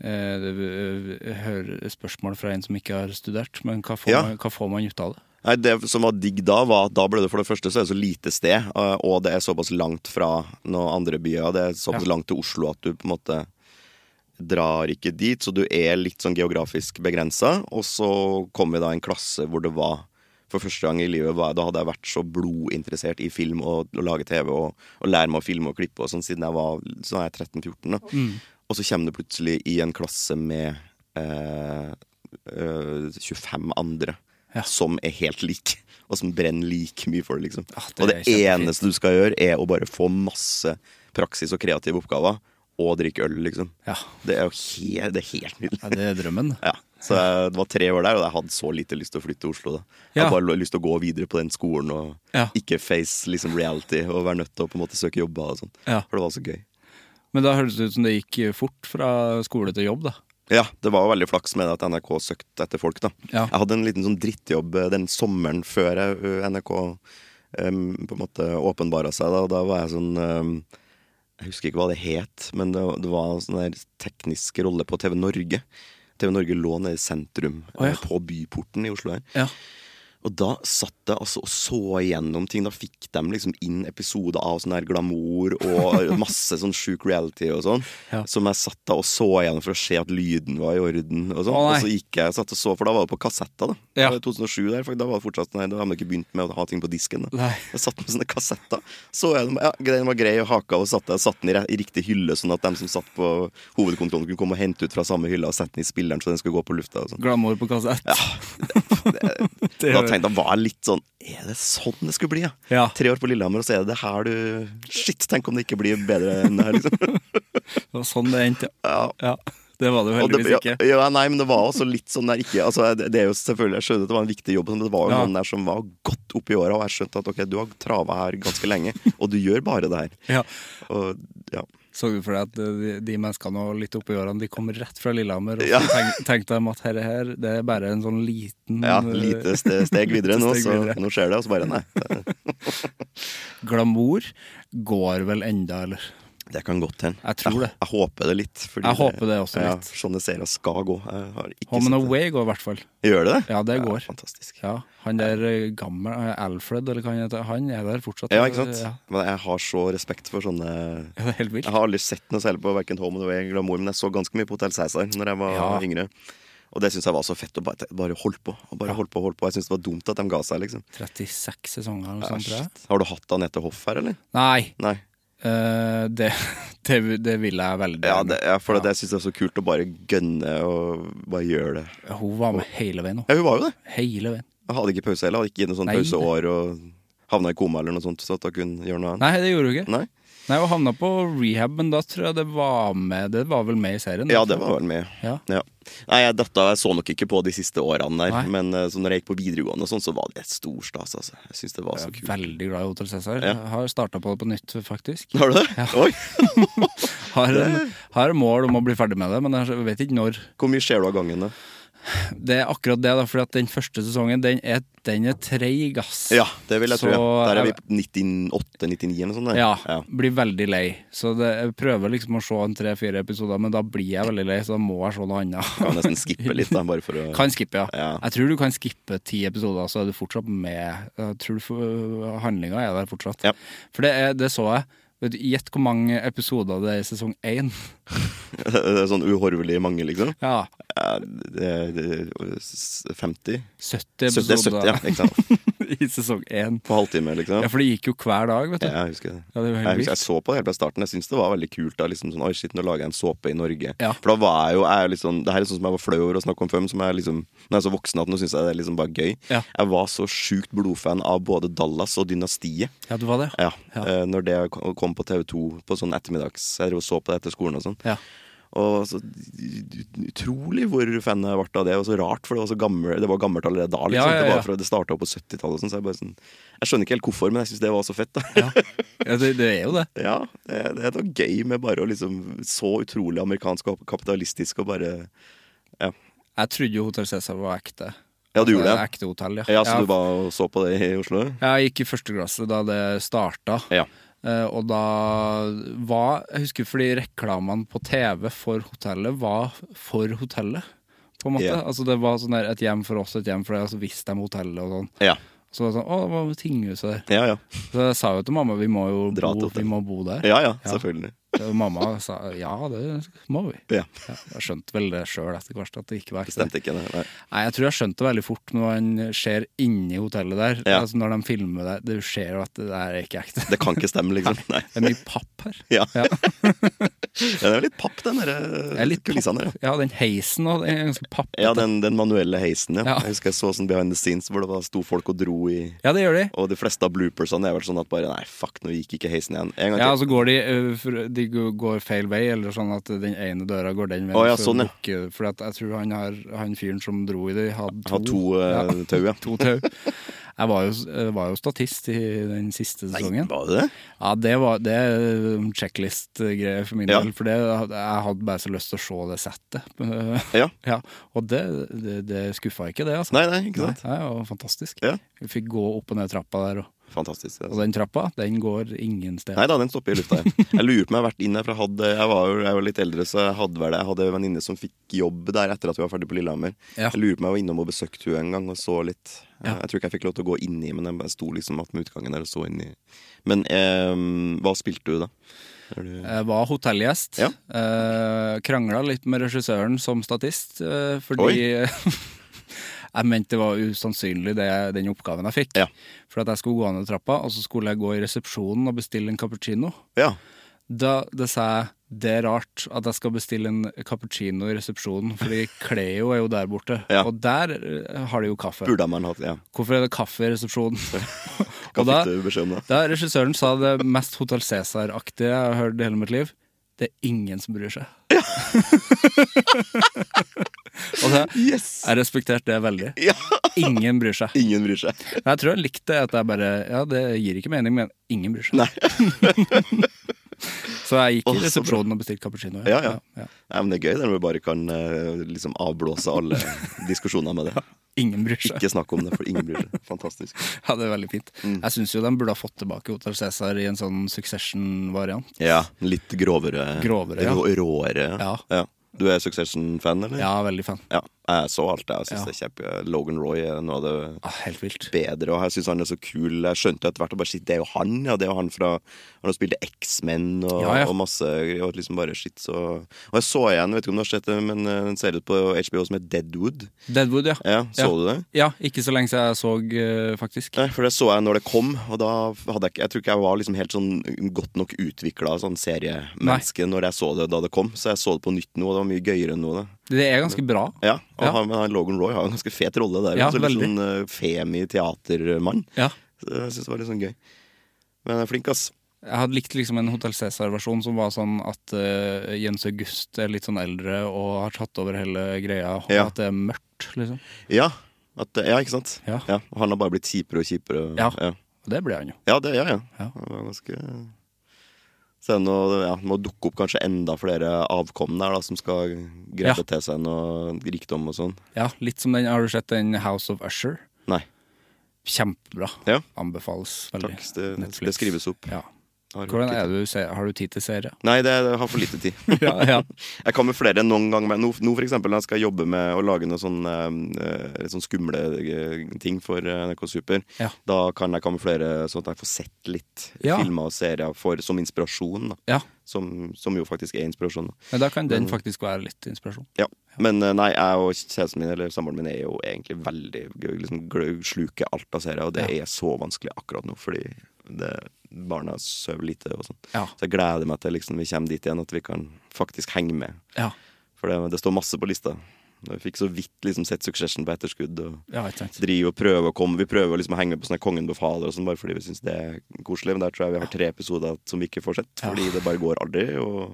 eh, det, Jeg hører spørsmål fra en som ikke har studert, men hva får,
Ja.
man, hva får man ut av det?
Nei, Det som var digg da, var at da ble det for det første så er det så lite sted, eh, og det er såpass langt fra noen andre byer, og det er såpass
Ja.
langt til Oslo at du på en måte drar ikke dit, så du er litt sånn geografisk begrensa. Og så kom vi da i en klasse hvor det var for første gang i livet var, Da hadde jeg vært så blodinteressert i film og, og lage TV og, og lære meg å filme og klippe og sånn siden jeg var sånn er jeg 13-14. da.
Mm.
Og så kommer du plutselig i en klasse med eh, eh, 25 andre som er helt like, og som brenner like mye for det, liksom.
Ah, det
og
er
det
kjempefint.
eneste du skal gjøre, er å bare få masse praksis og kreative oppgaver, og drikke øl, liksom.
Ja,
Det er jo helt, det er helt
ja,
nydelig.
det er drømmen.
Ja. Så jeg, det var tre år der, og jeg hadde så lite lyst til å flytte til Oslo. da
Ja.
Jeg hadde bare lyst til å gå videre på den skolen og
Ja.
ikke face liksom, reality og være nødt til å på en måte søke jobber og sånn.
Ja.
For det var så gøy.
Men da høres det ut som det gikk fort fra skole til jobb, da.
Ja, det var jo veldig flaks med at NRK søkte etter folk, da.
Ja.
Jeg hadde en liten sånn drittjobb eh, den sommeren før jeg, eh, NRK em, på en måte åpenbara seg, da, og da var jeg sånn em, Jeg husker ikke hva det het, men det, det var en sånn der teknisk rolle på TV Norge. TV Norge lå nede i sentrum,
Å, ja.
eh, på Byporten i Oslo her.
Ja.
Og da satt jeg altså og så igjennom ting. Da fikk de liksom inn episoder av sånn her glamour og masse sånn sjuk reality og sånn.
Ja.
Som jeg satt da og så igjennom for å se at lyden var i orden. Og sånn
Å, nei.
Og så gikk jeg og satt og så, for da var det på kassetter. Da
Ja.
Det var 2007 der, for da var det fortsatt Nei, da hadde man ikke begynt med å ha ting på disken. Da.
Nei.
Jeg satt med sånne kassetter. Så jeg dem, ja, Den var grei og haka, og satt, jeg satt den i, re- i riktig hylle, sånn at de som satt på hovedkontrollen, kunne komme og hente ut fra samme hylla og sette den i spilleren, så den skulle gå på lufta. og sånn
Glamour på kassett. Det
da
gjør-
tenkte jeg, var jeg litt sånn Er det sånn det skulle bli, ja?
Ja.
Tre år på Lillehammer, og så er det det her du Shit, tenk om det ikke blir bedre enn det her, liksom.
Det var sånn det endte.
Ja.
Ja. Det var det jo
Og det,
heldigvis
ja,
ikke.
ja, nei, men det var også litt sånn der ikke altså, det, det er jo selvfølgelig, Jeg skjønner at det var en viktig jobb, men det var jo
Ja.
noen der som var godt oppi åra, og jeg skjønte at ok, du har trava her ganske lenge, og du gjør bare det her.
Ja.
Og, ja.
Så du for deg at eh, de, de menneskene og litt oppi årene De kom rett fra Lillehammer, og
Ja.
så tenk, tenkte de at herre her, det er bare en sånn liten
ja,
eh,
lite ste- steg videre nå,
Lite steg
så
videre.
nå skjer det, og så bare nei. Det,
glamour. Går vel enda, eller?
det kan godt hende.
Jeg tror det.
Jeg, håper det litt. fordi
Jeg håper det også litt.
Ja, sånne serier skal gå. Jeg har ikke
Home
sett
and
det.
Away går i hvert fall.
Gjør det det?
Ja, det går.
fantastisk.
Ja, Han der eh, gammel eh, Alfred, eller hva han heter, han er der fortsatt.
Ja, ikke sant?
Ja,
Men jeg har så respekt for sånne
Ja, det er helt
Jeg
vilt.
har aldri sett noe særlig på hverken Home and Away eller Glamour, men jeg så ganske mye på Hotell Cæsar når jeg var
Ja.
yngre. Og det syns jeg var så fett. Og bare, bare holdt på. Og bare holdt på, holdt på. Jeg syns det var dumt at de ga seg, liksom.
36 sesonger eller noe
Ja,
sånt, tror jeg.
shit. Har du hatt Anette Hoff her, eller?
Nei,
Nei.
eh, det, det, det vil jeg veldig
Ja, det, ja for det syns jeg er så kult å bare gønne og bare gjøre det.
Hun var med hele veien nå.
Ja, hun var jo det.
Hele veien.
Jeg hadde ikke pause heller. Jeg Hadde ikke gitt noe sånn
Nei.
pauseår og havna i koma eller noe sånt, så at hun kunne gjøre noe annet.
Nei, det gjorde hun ikke.
Nei?
Nei, Hun havna på rehab, men da tror jeg det var med Det var vel med i serien?
Ja, det var vel med.
Mm. Ja.
Ja. Nei, jeg, datta, jeg så nok ikke på de siste årene der,
Nei.
men eh, så når jeg gikk på videregående og sånn, så var det et stor stas, altså. Jeg synes det var så kult.
Veldig glad i Hotel Cæsar.
Ja.
Jeg Har starta på det på nytt, faktisk.
Har du det? Oi!
Har, en, har en mål om å bli ferdig med det, men jeg vet ikke når.
Hvor mye ser du av gangen, da?
Det er akkurat det, da, fordi at den første sesongen den er, den er treig, ass.
Ja, det vil jeg
Så
tro. Ja. Der er
jeg-
vi 98-99 eller sånn. der.
Ja,
ja.
blir veldig lei. Så det, jeg prøver liksom å se en tre-fire episoder, men da blir jeg veldig lei, så da må jeg se noe annet.
Kan nesten skippe litt, da, bare for å
Kan skippe, ja.
Ja.
Jeg tror du kan skippe ti episoder, så er du fortsatt med. Jeg tror du får- handlinga øh, er der fortsatt.
Ja.
For det, er, det så jeg. Vet du, Gjett hvor mange episoder det er i sesong én.
Det er sånn uhorvelig mange, liksom.
Ja,
Ja, det- det- s- 50?
70
Sø- Det er 70,
episoder
ja. Ikke sant?
i sesong én.
På halvtime, liksom.
Ja, for det gikk jo hver dag, vet du.
Ja, jeg husker det.
Ja, det var helt
jeg, husker,
vilt.
jeg så på det helt fra starten. Jeg syntes det var veldig kult. da liksom sånn, Oi, shit, nå lager jeg en såpe i Norge.
Ja.
For da var jeg jo jeg er jo litt sånn, Det her er sånn som jeg var flau over å snakke om før, men som jeg liksom Når jeg er så voksen at nå syns jeg det er liksom bare gøy.
Ja.
Jeg var så sjukt blodfan av både Dallas og Dynastiet.
Ja, du var det?
Ja,
Ja.
eh, Når det kom- kom på TV2 på sånn ettermiddags Jeg drev og så på det etter skolen og sånn.
Ja.
Og så Utrolig hvor fan jeg ble av det. Og så rart, for det var så gammel, det var gammelt allerede da. Liksom.
Ja, ja,
Det
ja.
var fra det starta opp på 70-tallet. og Sånn, så jeg, bare sånn, jeg skjønner ikke helt hvorfor, men jeg syns det var så fett. da
Ja, ja det, det er jo det.
Ja, det, det er noe gøy med bare å liksom Så utrolig amerikansk og kapitalistisk og bare Ja,
Jeg trodde jo Hotell Cæsar var ekte.
ja du gjorde det?
Ekte hotell, ja.
Ja, Så du var og så på det i Oslo?
Jeg gikk i første klasse da det starta.
Ja.
Eh, og da var Jeg husker fordi reklamene på TV for hotellet var for hotellet, på en måte.
Ja.
Altså Det var sånn der et hjem for oss, et hjem for deg, og så visste de hotellet og sånn.
Ja,
Så var det sånn, å, det var tinghuset der.
ja. Ja,
Så jeg sa jo til mamma vi må jo
Dra til
bo,
hotellet.
vi må bo der.
ja, ja selvfølgelig.
Og mamma sa ja, det må vi.
Ja.
Ja, jeg skjønte vel det sjøl etter hvert at det ikke var ekte.
Stemte ikke, nei. nei.
Nei, jeg tror jeg skjønte det veldig fort når man ser inni hotellet der.
Ja.
Altså Når de filmer det, du ser jo at det der er ikke ekte.
Det kan ikke stemme, liksom. Nei.
Det er mye papp her.
Ja.
Ja.
Den er jo litt papp, den
Det er
der
litt
kulissene der.
papp. Ja, den heisen òg, den sånn er ganske pappete.
Ja, ja den, den manuelle heisen, ja.
Ja.
Jeg husker jeg så sånn behind the scenes hvor det var sto folk og dro i
Ja, det gjør de.
Og de fleste av bloopersene er vel sånn at bare Nei, fuck, nå gikk ikke heisen igjen. En gang
Ja, altså, og
til.
så går de, ø, for- de går feil vei, eller sånn at den ene døra går den veien.
Å, ja,
så
sånn, ja.
lukker- For at jeg tror han, har, han fyren som dro i det, hadde to,
Hadde to, eh, tau, ja.
to tau. Jeg var jo, jeg var jo statist i den siste sesongen.
Var det det?
Ja, det, var, det er en checklist-greie for min
Ja.
del. For det, jeg hadde bare så lyst til å se det settet.
Ja.
Ja, og det, det, det skuffa ikke, det. altså.
Nei, nei, ikke sant?
Nei, det var fantastisk.
Ja.
Vi fikk gå opp og ned trappa der, og,
Fantastisk. det, altså.
og den trappa den går ingen sted.
Nei da, den stopper i lufta. Jeg, jeg lurer på om jeg har vært inn der, for jeg, hadde, jeg, var jo, jeg var litt eldre, så jeg hadde, vel, jeg hadde en venninne som fikk jobb der etter at vi var ferdig på Lillehammer.
Ja.
Jeg lurer på om jeg var innom og besøkte henne en gang og så litt.
Ja.
Jeg tror ikke jeg fikk lov til å gå inni, men jeg bare sto liksom attmed utgangen der og så inni. Men eh, hva spilte du da? Er du...
Jeg Eh, var hotellgjest.
Ja.
Eh, Krangla litt med regissøren som statist, eh, fordi Jeg mente det var usannsynlig, det, den oppgaven jeg fikk.
Ja.
For at jeg skulle gå ned trappa, og så skulle jeg gå i resepsjonen og bestille en cappuccino.
Ja.
Da det sa jeg det er rart at jeg skal bestille en cappuccino i resepsjonen, fordi Cleo er jo der borte,
Ja.
og der eh, har de jo kaffe.
Burde man hatt Ja.
Hvorfor er det kaffe i resepsjonen?
Hva
Og da-
fikk du beskjed om da?
Da regissøren sa det mest Hotell Cæsar-aktige jeg har hørt i hele mitt liv, det er ingen som bryr seg. og det,
Yes!
jeg respekterte det veldig.
Ja.
Ingen bryr seg.
Ingen bryr seg.
Men Jeg tror jeg likte at jeg bare Ja, det gir ikke mening, men ingen bryr seg.
Nei.
Så jeg gikk
Åh, så
i
bra.
resepsjonen og bestilte cappuccino.
Ja, ja. Nei, men det er gøy når vi bare kan eh, liksom avblåse alle diskusjoner med det.
Ingen bryr seg.
Ikke Mm. snakk om det, for ingen bryr seg. Fantastisk.
Ja, det er veldig fint. Jeg syns jo de burde ha fått tilbake Hotel Cæsar i en sånn Succession-variant.
Ja, litt grovere.
Grovere, ja.
rå- Råere.
Ja.
Du er Succession-fan, eller?
Ja, veldig fan.
Ja, Jeg så alt, jeg.
Ja.
synes det er kjempe... Logan Roy er noe av det
Ah, helt vilt.
bedre, og jeg syns han er så kul. Jeg skjønte etter hvert at bare shit, det er jo han, ja. Det er jo han fra Han har spilt X-Men og,
Ja, ja.
og masse og liksom bare shit, så Og jeg så igjen, vet ikke om du har sett det, men eh, den ser ut på HBO som heter Deadwood.
Deadwood, ja.
Ja, Så
Ja.
du det?
Ja, ikke så lenge siden jeg så, eh, faktisk.
Nei, for det så jeg når det kom, og da hadde jeg ikke Jeg tror ikke jeg var liksom helt sånn godt nok utvikla sånn seriemenneske når jeg så det da det kom, så jeg så det på nytt nå, og det var mye gøyere nå. Da.
Det er ganske bra.
Ja, og
Ja.
Han, men han Logan Roy har en ganske fet rolle der.
Ja,
også, litt
veldig.
sånn eh, femi-teatermann.
Ja.
Så Jeg syns det var litt sånn gøy. Men han er flink, ass.
Jeg hadde likt liksom en Hotell Cæsar-versjon som var sånn at eh, Jens August er litt sånn eldre og har tatt over hele greia, og
Ja.
at det er mørkt, liksom.
Ja, at, ja ikke sant?
Ja.
og Han har bare blitt kjipere og kjipere.
Ja.
ja.
Og det blir han jo.
Ja, det, ja, ja.
Ja.
Det var ganske Så nå ja, må dukke opp kanskje enda flere avkom der, da, som skal grepe
Ja.
til seg noe rikdom og sånn.
Ja, litt som den, har du sett den House of Usher?
Nei.
Kjempebra.
Ja.
Anbefales veldig.
Takk. Det,
Netflix.
det skrives opp.
Ja.
Har
Hvordan
tid
er
til-
du, se- har du tid til serie?
Nei, det jeg har for lite tid.
Ja, ja.
Jeg kan med flere enn noen gang. Men nå, nå for eksempel, når jeg skal jobbe med å lage noen sånn, eh, litt sånn skumle eh, ting for eh, NRK Super,
Ja.
da kan jeg kamuflere sånn at jeg får sett litt
Ja.
filmer og serier for, som inspirasjon. Da.
ja.
Som, som jo faktisk er inspirasjon. Da.
Men da kan den faktisk være litt inspirasjon.
Ja. Men eh, nei, jeg og kjæresten min eller samboeren min er jo egentlig veldig gøy, liksom, glø- sluker alt av serier, og det er så vanskelig akkurat nå fordi det, barna sover lite og sånn.
Ja.
Så jeg gleder meg til liksom, vi kommer dit igjen, at vi kan faktisk henge med.
Ja,
For det, det står masse på lista. Vi fikk så vidt liksom, sett Succession på etterskudd. og
ja ikke sant.
driver og prøver å komme Vi prøver å liksom henge med på sånne Kongen befaler og sånn, bare fordi vi syns det er koselig. Men der tror jeg vi har tre episoder som vi ikke får sett, fordi det bare går aldri. Og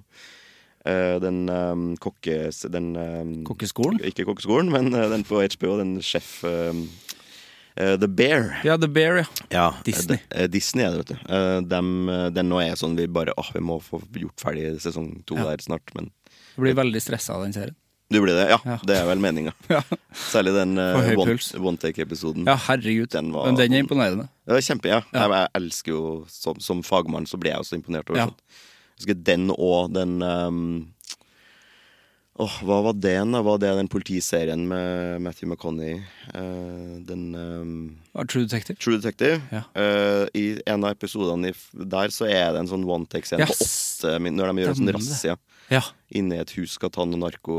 eh, den um, kokkes... Den eh,
Kokkeskolen?
Ikke kokkeskolen, men eh, den på HBO, den sjef... eh, eh, The Bear.
Ja, The Bear, ja.
Ja,
Disney.
det- eh, Disney er det, vet du. Eh, dem, eh, den nå er sånn vi bare Åh, vi må få gjort ferdig sesong to der snart, men
Jeg blir veldig stressa av den serien.
Du blir det? Ja,
Ja.
det er vel meninga.
Ja,
Særlig den eh,
For høy
one,
puls.
one take-episoden.
ja herregud.
Den var-
Men den er imponerende.
Det var kjempe, ja. Jeg, jeg elsker jo som, som fagmann så ble jeg også imponert over
Ja.
sånt. Jeg husker den og den ehm, Åh, hva var det igjen? da? Var det den politiserien med Matthew McConney? den ehm,
Ja, True Detective.
True Detective.
Ja.
Eh, I en av episodene i f- der så er det en sånn one take-scene på
Yes.
åtte min- når de gjør en sånn
Stemmer det.
razzia
Ja.
inne i et hus skal ta noe narko,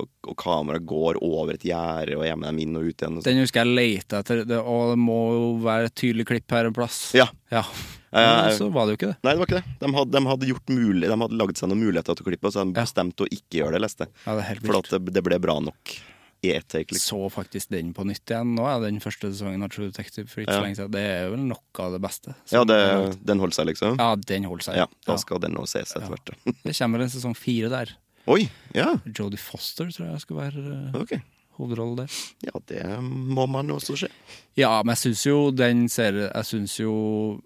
og, og kameraet går over et gjerde og gjemmer dem inn og ut igjen. Og sånt.
Den husker jeg leita etter, det, og det må jo være et tydelig klipp her en plass.
sånn. ja.
Ja.
Eh,
Men så var det jo ikke det.
Nei, det var ikke det. De hadde, de hadde, gjort mulig, de hadde lagd seg noen muligheter til å klippe, og så de
Ja.
bestemte å ikke gjøre det, leste jeg.
Ja, det er helt
For at
vilt.
det, det ble bra nok i ett take. Liksom.
Så faktisk den på nytt igjen nå, ja, den første sesongen av True Detective for ikke så lenge siden. Det er vel noe av det beste. som
Ja, det,
Sånn er laget.
den holdt seg, liksom?
ja, den holder seg.
Ja, Da skal den nå ses etter hvert. ja.
Det kommer vel en sesong fire der.
Oi! Ja,
Jodie Foster tror jeg skal være eh,
ok.
hovedrolle der.
Ja, det må man også se.
Ja, men jeg syns jo den serien Jeg syns jo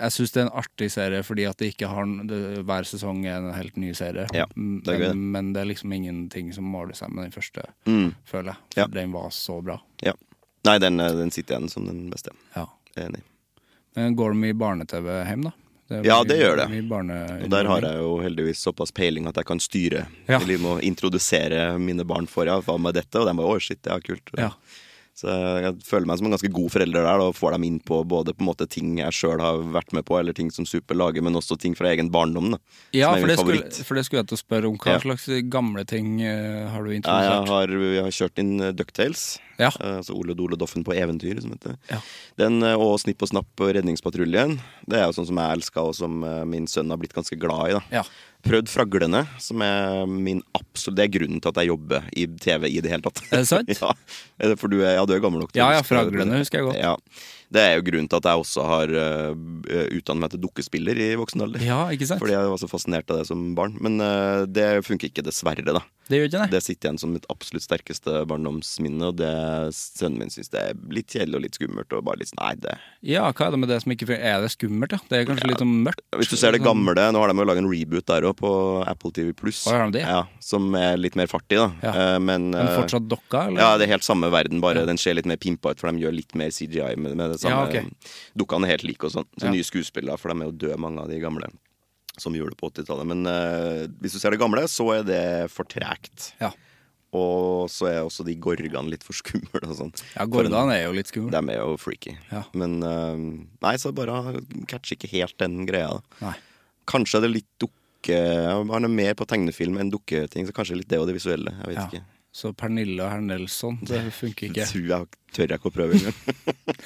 Jeg syns det er en artig serie fordi at det ikke har en- det, Hver sesong er en helt ny serie.
Ja,
Mm,
det er gøy, det.
men, men det er liksom ingenting som måler seg med den første, føler jeg. For
Ja.
den var så bra.
Ja. Nei, den, eh, den sitter igjen som den beste.
Ja.
Enig.
Men går de i barne-TV hjem, da? Det er
Ja,
mye-
det gjør det.
mye barne-
Og der har jeg jo heldigvis såpass peiling at jeg kan styre.
Ja.
Eller må introdusere mine barn for ja, hva med dette, og de bare å shit, det er kult.
Ja.
Så jeg føler meg som en ganske god forelder der, da, og får dem inn på både på en måte ting jeg sjøl har vært med på, eller ting som Super lager, men også ting fra egen barndom. Da,
Ja,
som er
for
min
det, skulle,
favoritt.
for det skulle jeg til å spørre om. Hva
Ja.
slags gamle ting eh, har du
Ja, jeg,
introdusert?
har, jeg har kjørt inn eh, Ducktails.
Ja.
eh, Altså Ole Dole Doffen på eventyr, som heter det.
Ja.
Den eh, og Snipp og Snapp og Redningspatruljen. Det er jo sånn som jeg elska, og som eh, min sønn har blitt ganske glad i. da
Ja.
Prøvd Fraglene, som er min absolutt Det er grunnen til at jeg jobber i TV i det hele tatt.
Er det sant?
ja, Er det for du er, ja, du er gammel nok til
Ja,
å
ja,
huske det,
Fraglene
men-
husker jeg godt.
Ja. Det er jo grunnen til at jeg også har uh, utdannet meg til dukkespiller i voksen alder.
ja, ikke sant?
Fordi jeg var så fascinert av det som barn. Men eh, det funker ikke, dessverre, da.
Det gjør ikke det?
Det sitter igjen som mitt absolutt sterkeste barndomsminne, og det sønnen min syns det er litt kjedelig og litt skummelt, og bare litt sånn nei, det
Ja, hva er det med det som ikke fungerer? Er det skummelt, ja? Det er kanskje litt sånn mørkt?
Hvis du ser det gamle, nå har de jo laget en reboot der òg, på Apple TV Pluss.
Å, har de det?
Ja, som er litt mer fartig, da.
Ja.
Eh, Men,
Men
eh,
fortsatt dokka, eller?
ja, det er helt samme verden, bare den ser litt mer pimpa ut, for de gjør litt mer CGI med, med det samme.
Ja, ok.
Dukkene er helt like og sånn. Så
Ja.
nye skuespillere, for de er jo døde, mange av de gamle. Som gjorde det på 80-tallet. Men eh, hvis du ser det gamle, så er det for tregt.
Ja.
Og så er også de gorgene litt for skumle og sånn.
ja Gordan er jo litt skummel.
De er jo freaky.
Ja.
Men eh, Nei, så bare catcher ikke helt den greia. da.
Nei.
Kanskje er det litt dukke Han er mer på tegnefilm enn dukketing, så kanskje litt det og det visuelle. Jeg vet
Ja.
ikke.
Så Pernille og herr Nelson, det funker
Det
ikke.
tror jeg tør jeg ikke å prøve engang.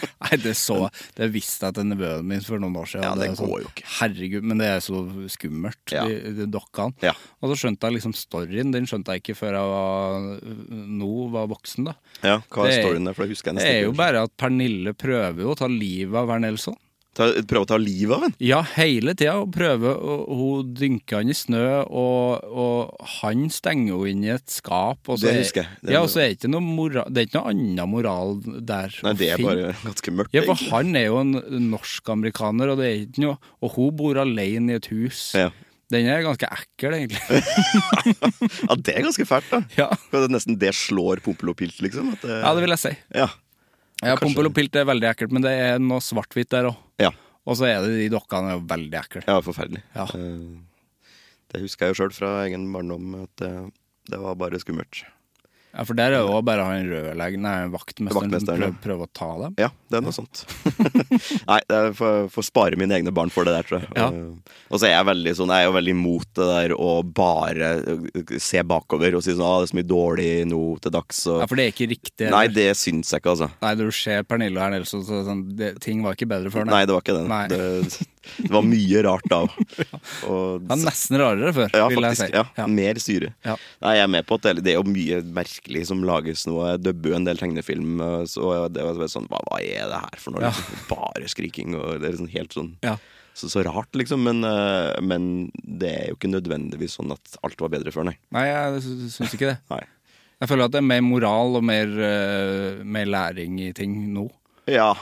Nei, det så Det visste jeg til nevøen min for noen år siden.
Ja, det
er sånn,
går jo ikke.
Herregud, men det er så skummelt,
Ja.
de, de dokkene.
Ja.
Og så skjønte jeg liksom storyen. Den skjønte jeg ikke før jeg var, nå var voksen, da.
Ja, hva er
Det er-
storyen der? For det husker jeg
Det
nesten
er
ikke.
jo bare at Pernille prøver jo å ta livet av herr Nelson.
Ta, prøve å ta livet av en?
Ja, hele tida. Hun prøver å- Hun dynker han i snø, og, og han stenger henne inn i et skap. Og så
Det
er-
husker jeg. Det-
ja, og så er det ikke noe moral, det er ikke noe annen moral der.
Nei,
å
det er
finne.
bare ganske mørkt.
Ja, for
egentlig.
han er jo en norsk-amerikaner, og det er ikke noe Og hun bor alene i et hus.
Ja.
Den er ganske ekkel, egentlig.
ja, det er ganske fælt, da.
Ja,
For Det er nesten det slår Pompel-og-Pilt, liksom. At det,
ja det vil jeg si.
ja.
Ja,
Kanskje-
Pompel og pilt er veldig ekkelt, men det er noe svart-hvitt der òg.
Ja.
Og så er det de dokkene er jo veldig ekle.
Ja, forferdelig.
Ja.
Eh, Det husker jeg jo sjøl fra egen barndom, at det, det var bare skummelt.
Ja, for der er jo bare han rødlegen, nei, vaktmesteren,
Vaktmesteren, ja.
som prøver, prøver å ta dem.
Ja, det er noe sånt. Nei, jeg får, får spare mine egne barn for det der, tror jeg.
Ja.
Eh, Og så er jeg veldig sånn, jeg er jo veldig imot det der å bare eh, se bakover og si sånn ah, det er så mye dårlig nå til dags. Og...
Ja, for det er ikke riktig.
Nei, det syns jeg ikke, altså.
Nei, når du ser Pernille og Ernelse, så er det sånn, det, ting var ikke bedre før.
Nei, det var ikke det.
Nei.
det. Det var mye rart da. Og,
Det var nesten rarere før,
ja,
vil jeg
faktisk.
si.
Ja,
Ja.
Mer syre.
Ja.
Nei, jeg er med på at det, det er jo mye merkelig som lages nå. Jeg dubber jo en del tegnefilm, og så og det var bare sånn Hva, hva er det her for noe?
Ja.
Liksom, bare skriking og det er sånn helt sånn
Ja.
så, så rart, liksom. Men, eh, men det er jo ikke nødvendigvis sånn at alt var bedre før, nei.
Nei, jeg sy- syns ikke det.
nei.
Jeg føler at det er mer moral og mer, eh, mer læring i ting nå.
Ja.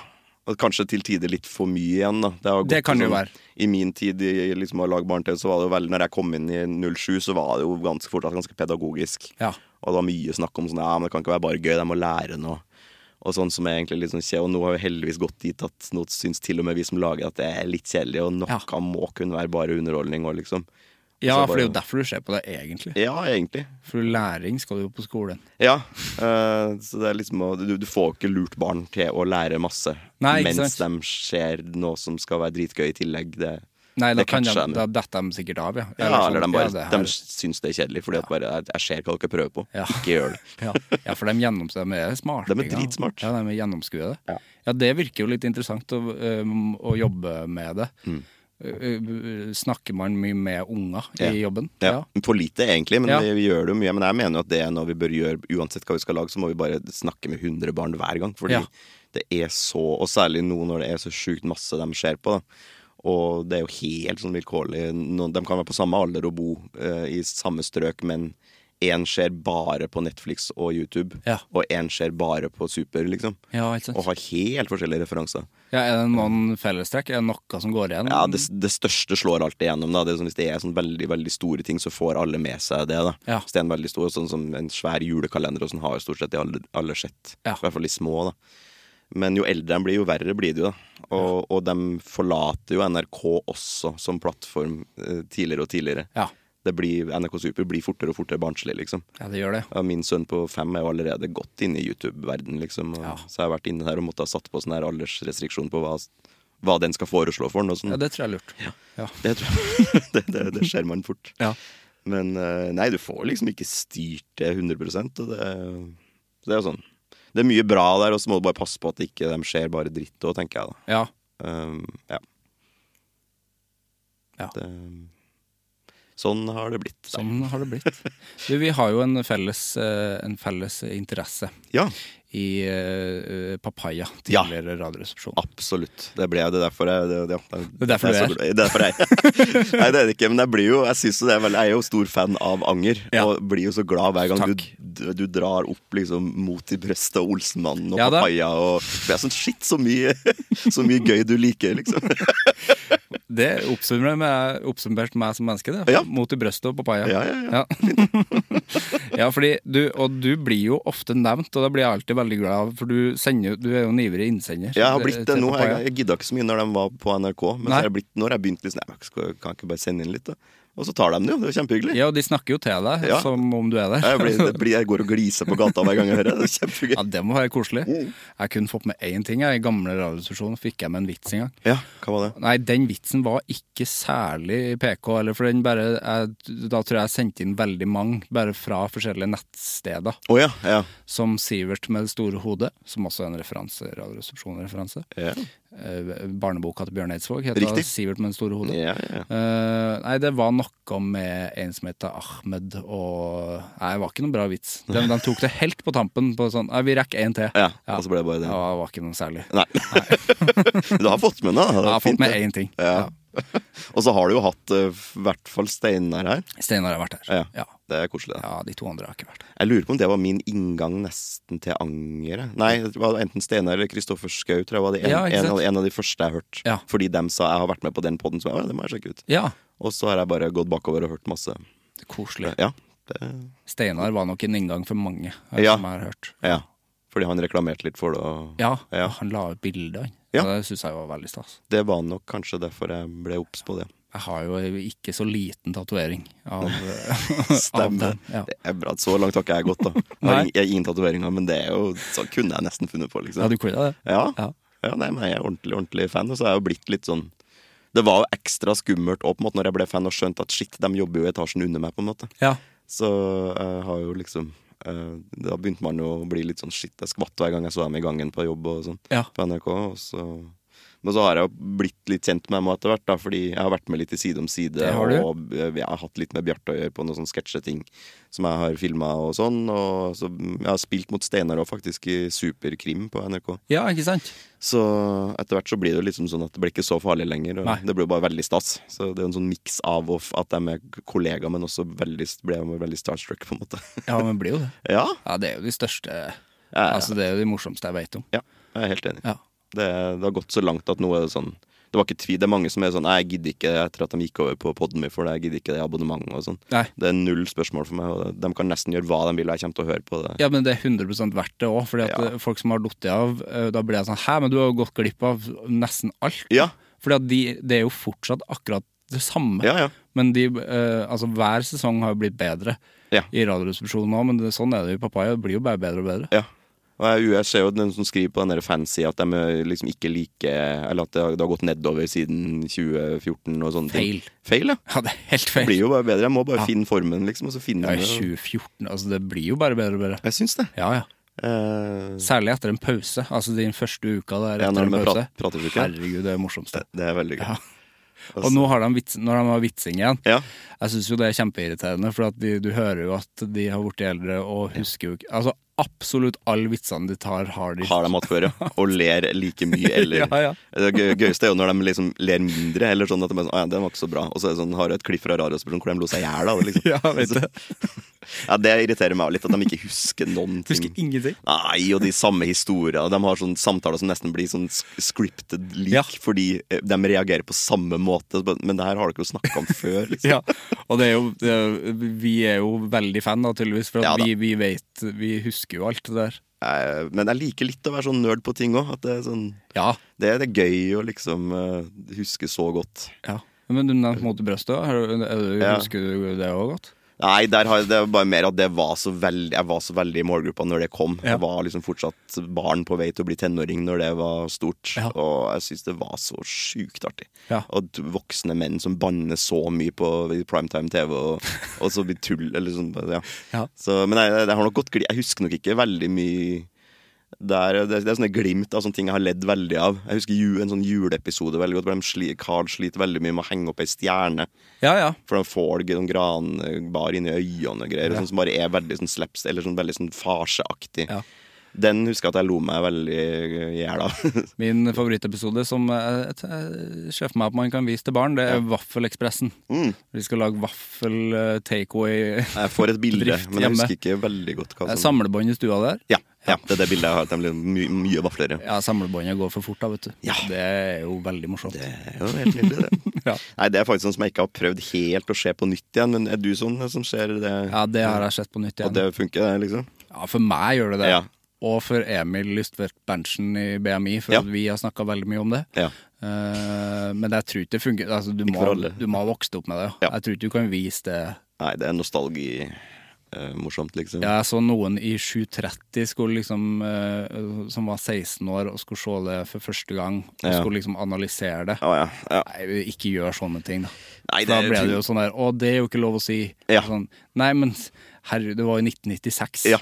Og kanskje til tider litt for mye igjen, da. Det, har gått sånn
Det kan jo være.
I min tid i liksom, å lage barne-TV, så var det jo veldig Når jeg kom inn i 07, så var det jo ganske fortsatt ganske pedagogisk.
Ja.
Og det var mye snakk om sånn Ja, men det kan ikke være bare gøy, de må lære noe. Og sånn som er egentlig litt sånn kjedelig. Og nå har vi heldigvis gått dit at nå syns til og med vi som lager at det er litt kjedelig, og noe
Ja.
må kunne være bare underholdning òg, liksom.
Ja,
Så
for det er jo
bare-
derfor du ser på det, egentlig.
Ja, egentlig.
For læring skal du jo på skolen.
Ja. eh, så det er liksom å- du, du får ikke lurt barn til å lære masse
Nei, ikke
mens
sant.
de ser noe som skal være dritgøy i tillegg. Det,
Nei, da,
det
kan de,
catcher
da
dem.
detter de sikkert av, ja.
Ja,
sånn,
eller de, bare,
ja, det her-
de syns det er kjedelig, fordi at bare jeg, jeg ser hva dere prøver på.
Ja.
Ikke gjør det.
ja. ja, for de, gjennoms, de er smarte.
De er dritsmart.
Ja, de er gjennomskuede.
Ja.
Ja. det virker jo litt interessant å, øhm, å jobbe med det.
Mm.
Øh, øh, Snakker man mye med unger i jobben?
Ja. For lite, egentlig, men
Ja.
vi, vi gjør det jo mye. Men jeg mener jo at det er noe vi bør gjøre uansett hva vi skal lage, så må vi bare snakke med 100 barn hver gang. Fordi
Ja.
det er så Og særlig nå når det er så sjukt masse de ser på, da. Og det er jo helt sånn vilkårlig. Nå- De kan være på samme alder og bo eh, i samme strøk, men én ser bare på Netflix og YouTube,
Ja.
og én ser bare på Super, liksom.
Ja, ikke sant?
Og har helt forskjellige referanser.
Ja, er det noen fellestrekk? Er det noe som går igjen?
Ja, det, det største slår alltid igjennom. Da. Det er sånn, hvis det er sånn veldig veldig store ting, så får alle med seg det. Da.
Ja.
Hvis det er en veldig stor, sånn som en svær julekalender, og sånn har jo stort sett de alle, alle sett.
Ja.
I hvert fall de små. da Men jo eldre de blir, jo verre blir det jo. da Og, og de forlater jo NRK også som plattform eh, tidligere og tidligere.
Ja.
Det blir, NRK Super blir fortere og fortere barnslig, liksom.
ja, det gjør det.
Ja, Min sønn på fem er jo allerede godt inne i YouTube-verden, liksom. Og,
Ja.
Så jeg har vært inne der og måtte ha satt på sånn her aldersrestriksjon på hva, hva den skal foreslå for den. Og sånn.
Ja, det tror jeg er lurt. Ja.
Det tror jeg. det, det, det skjer man fort.
Ja.
Men eh, nei, du får liksom ikke styrt det 100 og det, så det er jo sånn. Det er mye bra der, og så må du bare passe på at ikke de ser bare dritt òg, tenker jeg da.
Ja.
Um, ja.
Ja.
Det, sånn har det blitt. da.
Sånn har det blitt. Du, vi har jo en felles, eh, en felles interesse
Ja,
i eh, Papaya,
Ja.
tidligere Radioresepsjon.
absolutt. Det ble jo det er derfor jeg det, det, ja,
Det er derfor
jeg
du
så glad- Det er derfor jeg Nei, det er det ikke, men jeg blir jo Jeg, synes jo det er veldig, jeg er jo stor fan av anger,
Ja.
og blir jo så glad hver gang du,
Takk.
du, du drar opp liksom mot i brøstet og Olsenmannen og
Ja da.
papaya og Det er sånn shit, så mye, så mye gøy du liker, liksom.
Det oppsummerer meg, oppsummerte meg som menneske, det.
Ja.
Mot i brøstet og papaya.
Ja, ja, ja.
Ja, fordi du, og du blir jo ofte nevnt, og da blir jeg alltid veldig glad, for du, sender, jo- du er jo en ivrig innsender. Eh,
Jeg har blitt det
til
nå. Jeg,
Papaya.
jeg gidda ikke så mye når de var på NRK, men så
Nei.
har jeg blitt, når jeg begynte liksom, jeg skal, kan jeg ikke bare sende inn litt, da. Og så tar de det jo. Det er jo kjempehyggelig.
Ja, og de snakker jo til deg,
Ja.
som om du er der.
Jeg, blir, det blir, jeg går og gliser på gata hver gang jeg hører det. Det er kjempegøy.
Ja, det må være koselig.
Mm.
Jeg kunne fått med én ting. Jeg. I gamle radiostasjoner fikk jeg med en vits en gang.
Ja, hva var det?
Nei, den vitsen var ikke særlig PK, eller for den bare jeg, Da tror jeg jeg sendte inn veldig mange, bare fra forskjellige nettsteder.
Å ja, ja.
Som Sivert med det store hodet, som også er en referanse, Radioresepsjonen-referanse.
Ja,
Eh, barneboka til Bjørn Eidsvåg heter
Riktig.
Sivert med det store hodet.
ja, ja.
Eh, nei, det var noe med en som heter Ahmed og Nei, det var ikke noen bra vits. De, de tok det helt på tampen på sånn Nei, vi rekker én til.
Ja, og så ble det bare det.
Ja, det var ikke noe særlig.
Nei. du har fått med den, da. Det er
Jeg har fått
fint,
med
det.
én ting.
Ja. Og så har du jo hatt eh, i hvert fall Steinar her.
Steinar har vært
Ja.
her. Ja.
Det er koselig. da
ja, de to andre har ikke vært her.
Jeg lurer på om det var min inngang nesten til anger. jeg. Nei, det var enten Steinar eller Kristoffer Schou, tror jeg var det en,
Ja, ikke
en,
sant?
av- en av de første jeg hørte.
Ja.
Fordi dem sa jeg har vært med på den poden, så jeg, «Å, det må jeg sjekke ut.
Ja,
Og så har jeg bare gått bakover og hørt masse.
koselig.
Ja. Det,
Steinar var nok en inngang for mange, eh,
Ja.
som jeg har hørt.
ja. Fordi han reklamerte litt for det. Og...
Ja,
Ja.
han la ut bilde, han.
Ja.
Og Det syns jeg var veldig stas.
Det var nok kanskje derfor jeg ble obs på det.
Jeg har jo ei ikke så liten tatovering av, av
Stemmer.
den. Ja.
Det er bra at så langt har ikke jeg gått, da. Jeg har
Nei.
ing- jeg har ingen tatoveringer, men det er jo Så kunne jeg nesten funnet på, liksom.
ja, du kunne det?
Ja.
Ja.
ja nei, men jeg er ordentlig, ordentlig fan, og så er jeg jo blitt litt sånn Det var jo ekstra skummelt òg, på en måte, når jeg ble fan og skjønte at shit, de jobber jo i etasjen under meg, på en måte.
Ja.
Så jeg har jo liksom eh, Da begynte man jo å bli litt sånn shit, jeg skvatt hver gang jeg så dem i gangen på jobb og sånn
ja.
på NRK. Og så, men så har jeg jo blitt litt kjent med dem etter hvert, da, fordi jeg har vært med litt i Side om side.
Det har du.
Og eh, jeg har hatt litt med Bjarte å gjøre på noen sånne sketsjeting som jeg har filma og sånn. Og så jeg har spilt mot Steinar òg, faktisk, i Superkrim på NRK.
Ja, ikke sant?
Så etter hvert så blir det jo liksom sånn at det blir ikke så farlig lenger. Og
Nei.
det blir jo bare veldig stas. Så det er en sånn miks av og f- at de er kollegaer, men også veldig, ble jeg veldig starstruck, på en måte.
Ja, men blir jo det.
ja,
Ja, det er jo de største
ja, ja.
Altså, det er jo de morsomste jeg veit om.
ja, jeg er helt enig.
Ja.
Det, det har gått så langt at nå er det sånn Det var ikke tvi, det er mange som er sånn Nei, jeg gidder ikke etter at de gikk over på podden min, for jeg gidder ikke det abonnementet og sånn.
Nei.
Det er null spørsmål for meg, og de kan nesten gjøre hva de vil, og jeg kommer til å høre på det.
Ja, men det er 100 verdt det òg, fordi at
Ja.
eh, folk som har falt av, eh, da blir jeg sånn Hæ, men du har jo gått glipp av nesten alt.
Ja,
Fordi at de, det er jo fortsatt akkurat det samme.
ja, ja.
Men de, eh, altså hver sesong har jo blitt bedre
Ja.
i Radioresepsjonen òg, men det, sånn er det jo i Papaya. Det blir jo bare bedre og bedre.
ja. Og jeg, jeg ser jo den som skriver på den der fancy at de er liksom ikke like Eller at det har, det har gått nedover siden 2014 og sånne
Feil.
ting. Feil. ja.
Ja, det er helt
Det
feil.
blir jo bare bedre. Jeg må bare finne formen, liksom, og så
Ja,
finner
i
jeg det.
2014, altså det blir jo bare bedre og bedre.
Jeg syns det.
Ja, ja.
Eh,
Særlig etter en pause. Altså din første uka der
Ja,
etter
når
en
de
pause.
prat- prater ikke. Eh,
Herregud, det er morsomst.
det, det er veldig gøy.
Ja. Og nå har de vits, når de har vitsing igjen.
Ja.
Jeg syns jo det er kjempeirriterende, for at de, du hører jo at de har blitt eldre og husker jo ikke Altså absolutt alle vitsene de tar, har de.
har de hatt før, ja. Og ler like mye, eller
Ja, ja.
Det gøy- gøyeste er jo når de liksom ler mindre, eller sånn at de bare sånn, «Å ja, den var ikke så bra. Og så er det sånn, har du et klipp fra Radiospørsmålet hvor de lo seg i hjel av det, liksom.
Ja, vet du.
ja, det irriterer meg litt, at de ikke husker noen ting.
Husker ingenting.
Nei, og de samme historiene. De har sånne samtaler som nesten blir sånn sk- scripted lik,
Ja.
fordi eh, de reagerer på samme måte. Men det her har dere jo snakka om før. Liksom.
Ja, og det er jo, det er, vi er jo veldig fan da, tydeligvis, for at
Ja da.
vi, vi vet Vi husker jo alt det der.
Eh, Men jeg liker litt å være sånn nerd på ting òg. Det, er sånn,
Ja.
det, det er gøy å liksom eh, huske så godt.
ja. Men du nevnte mot i brøstet òg.
Ja.
Husker du det òg godt?
Nei, der har jeg, det er bare mer at det var så veldig, jeg var så veldig i målgruppa når det kom.
Ja.
Jeg var liksom fortsatt barn på vei til å bli tenåring når det var stort.
Ja.
Og jeg syns det var så sjukt artig.
Ja.
At voksne menn som banner så mye på i primetime TV, og, og så blir tull eller sånn. Ja.
Ja.
Så, men jeg, jeg har nok gått gli- Jeg husker nok ikke veldig mye det er, det, er, det er sånne glimt av sånne ting jeg har ledd veldig av. Jeg husker ju, en sånn juleepisode veldig godt, hvor de sli, Carl sliter veldig mye med å henge opp ei stjerne.
Ja, ja.
For de får noen granbar inni øynene og greier, sånn som bare er veldig sånn slaps, eller sånn veldig sånn farseaktig.
Ja.
Den husker jeg at jeg lo meg veldig i hjel av.
Min favorittepisode, som eh, jeg jeg ser for meg at man kan vise til barn, det er Vaffelekspressen.
Mm.
Vi skal lage vaffel eh, takeaway.
Jeg får et bilde,
Drift
men jeg
hjemme.
husker ikke veldig godt hva som
Samlebånd i stua der.
ja, ja, det er det bildet jeg har. at Det blir my mye vafler. ja.
Ja, samlebåndet går for fort da, vet du.
Ja.
Det er jo veldig morsomt.
Det er jo helt nydelig, det.
Ja.
Nei, det er faktisk sånn som jeg ikke har prøvd helt å se på nytt igjen, men er du sånn som ser det?
Ja, det har jeg sett på nytt
At
igjen.
det funker, det, liksom?
Ja, for meg gjør det det.
Ja.
Og for Emil Lystvedt Berntsen i BMI, for
Ja.
at vi har snakka veldig mye om det.
Ja.
Eh, men jeg tror ikke det funker. Altså, du, må,
for alle.
du må ha vokst opp med det.
Ja.
Jeg tror ikke du kan vise det.
Nei, det er nostalgi-morsomt, liksom.
Ja, jeg så noen i 730 skulle liksom, eh, som var 16 år og skulle se det for første gang, og
Ja.
skulle liksom analysere det.
Å, ja. ja.
Nei, vi ikke gjør sånne ting, da.
Nei,
For da
det er
ble det
tull.
jo sånn der Å, det er jo ikke lov å si.
Ja.
Sånn, nei, men herregud, det var jo 1996.
Ja.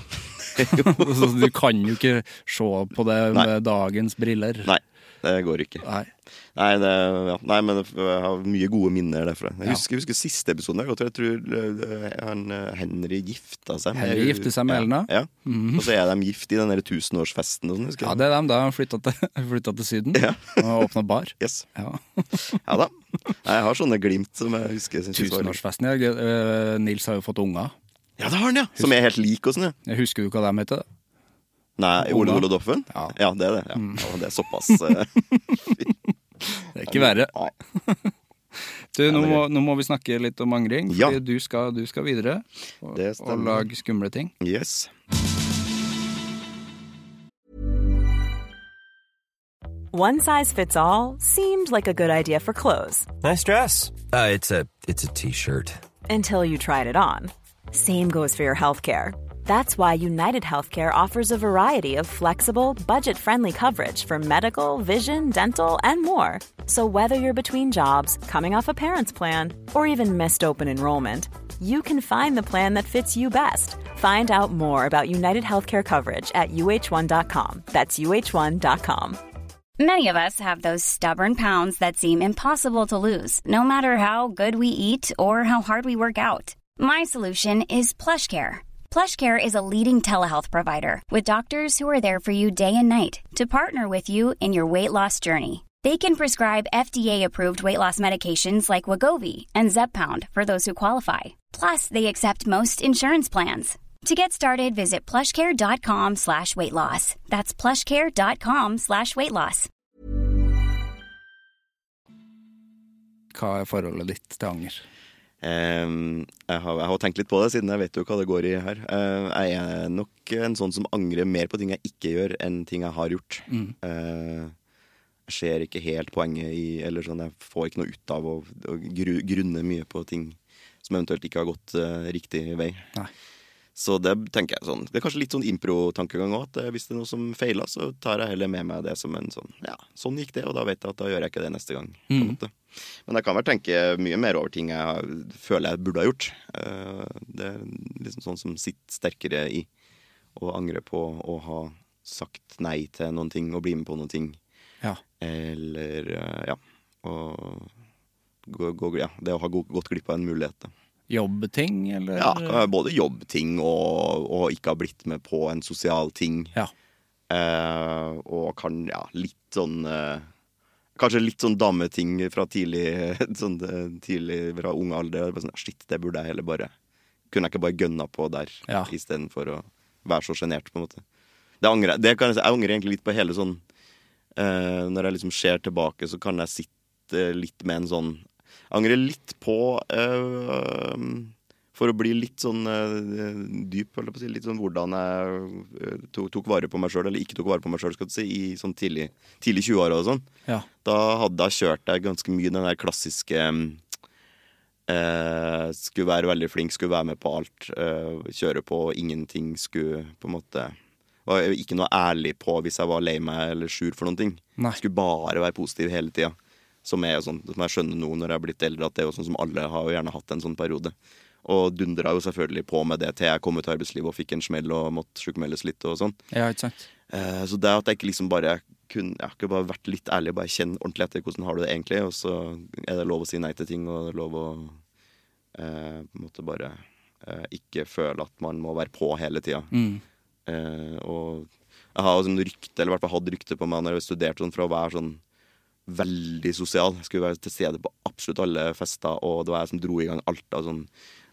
så du kan jo ikke se på det med
Nei.
dagens briller.
Nei, det går ikke.
Nei.
Nei, det, ja. Nei, men jeg har mye gode minner derfra. Jeg
Ja.
husker, jeg husker siste episoden. Jeg, jeg tror eh, han, eh, Henry gifta seg. med-
Henry gifter seg med Elna. Mhm.
Ja. ja. Og så er de gift i den der tusenårsfesten og sånn, husker
Ja,
jeg.
det er dem. Da har de flytta til, flyttet til Syden
Ja.
og åpna bar.
Yes.
Ja.
ja da. Nei, jeg har sånne glimt som jeg husker. synes var-
Tusenårsfesten. Ja. gøy. Eh, Nils har jo fått unger.
Ja, det har han, ja! Som er helt lik og sånn, ja.
Jeg Husker du hva de heter?
Nei, Ole Ole Doffen?
Ja. Mm.
ja, det er det. Ja. Ja, det er såpass eh,
Det er ikke verre.
ja.
Du, nå må, nå må vi snakke litt om angring,
Ja.
fordi du, skal, du skal videre og,
Det
og
stemmer.
lage skumle ting.
Yes.
One size fits all seemed like a good idea for clothes
Nice dress. Uh, it's a it's a t-shirt.
until you tried it on. Same goes for your healthcare. That's why United Healthcare offers a variety of flexible, budget friendly coverage for medical, vision, dental, and more. So, whether you're between jobs, coming off a parent's plan, or even missed open enrollment, you can find the plan that fits you best. Find out more about United Healthcare coverage at uh1.com. That's uh1.com.
Many of us have those stubborn pounds that seem impossible to lose, no matter how good we eat or how hard we work out. My solution is PlushCare. PlushCare is a leading telehealth provider with doctors who are there for you day and night to partner with you in your weight loss journey. They can prescribe FDA-approved weight loss medications like Wagovi and Zepbound for those who qualify. Plus, they accept most insurance plans. To get started, visit plushcare.com slash weight loss. That's plushcare.com slash weight loss.
Hva er forholdet ditt til anger?
Ehm, jeg, har, jeg har tenkt litt på det, siden jeg vet jo hva det går i her. Eh, jeg er nok en sånn som angrer mer på ting jeg ikke gjør, enn ting jeg har gjort. Eh, jeg ser ikke helt poenget i Eller sånn, jeg får ikke noe ut av å, å gru, grunne mye på ting som eventuelt ikke har gått eh, riktig vei.
Nei.
Så det tenker jeg sånn Det er kanskje litt sånn impro-tankegang òg, at eh, hvis det er noe som feiler, så tar jeg heller med meg det som en sånn Ja, sånn gikk det, og da vet jeg at da gjør jeg ikke det neste gang. På en måte. Men jeg kan vel tenke mye mer over ting jeg har- føler jeg burde ha gjort. Eh, Det er liksom sånn som sitter sterkere i å angre på å ha sagt nei til noen ting og bli med på noen ting.
Ja.
Eller eh, ja. Og gå, gå, ja, det å ha gå- gått glipp av en mulighet. Da.
Jobbting, eller? eh,
Ja, både jobbting og, og ikke ha blitt med på en sosial ting.
Ja.
Eh, og kan, ja, litt sånn eh, Kanskje litt sånn dameting fra tidlig, sånn, eh, tidlig fra ung alder. Bare Sånn, Shit, det burde jeg heller bare Kunne jeg ikke bare gønna på der
Ja.
istedenfor å være så sjenert, på en måte. Det angrer, jeg- det kan jeg, si- jeg angrer egentlig litt på hele sånn eh, Når jeg liksom ser tilbake, så kan jeg sitte litt med en sånn Jeg angrer litt på eh, For å bli litt sånn eh, dyp, holdt jeg på å si. Litt sånn hvordan jeg eh, tok, tok vare på meg sjøl, eller ikke tok vare på meg sjøl, skal du si, i sånn tidlig, tidlig 20-åra og sånn.
Ja.
Da hadde jeg kjørt jeg ganske mye den der klassiske mm, eh, Skulle være veldig flink, skulle være med på alt. Eh, kjøre på ingenting, skulle på en måte Var jo ikke noe ærlig på hvis jeg var lei meg eller sur for noen ting.
Nei.
Skulle bare være positiv hele tida. Som, er jo sånn, som jeg skjønner nå når jeg er blitt eldre, at det er jo sånn som alle har jo gjerne hatt en sånn periode. Og dundra jo selvfølgelig på med det til jeg kom ut av arbeidslivet og fikk en smell og måtte sjukmeldes litt og sånn.
ja, ikke sant?
Eh, Så det at jeg ikke liksom bare kunne, jeg har ikke bare vært litt ærlig og bare kjenne ordentlig etter hvordan har du det egentlig, og så er det lov å si nei til ting, og det er lov å eh, på en måte bare eh, ikke føle at man må være på hele tida. Eh, og jeg har jo sånn rykte, eller i hvert fall hatt rykte på meg når jeg studerte sånn, for å være sånn veldig sosial. Jeg skulle være til stede på absolutt alle fester, og det var jeg som dro i gang alt av sånn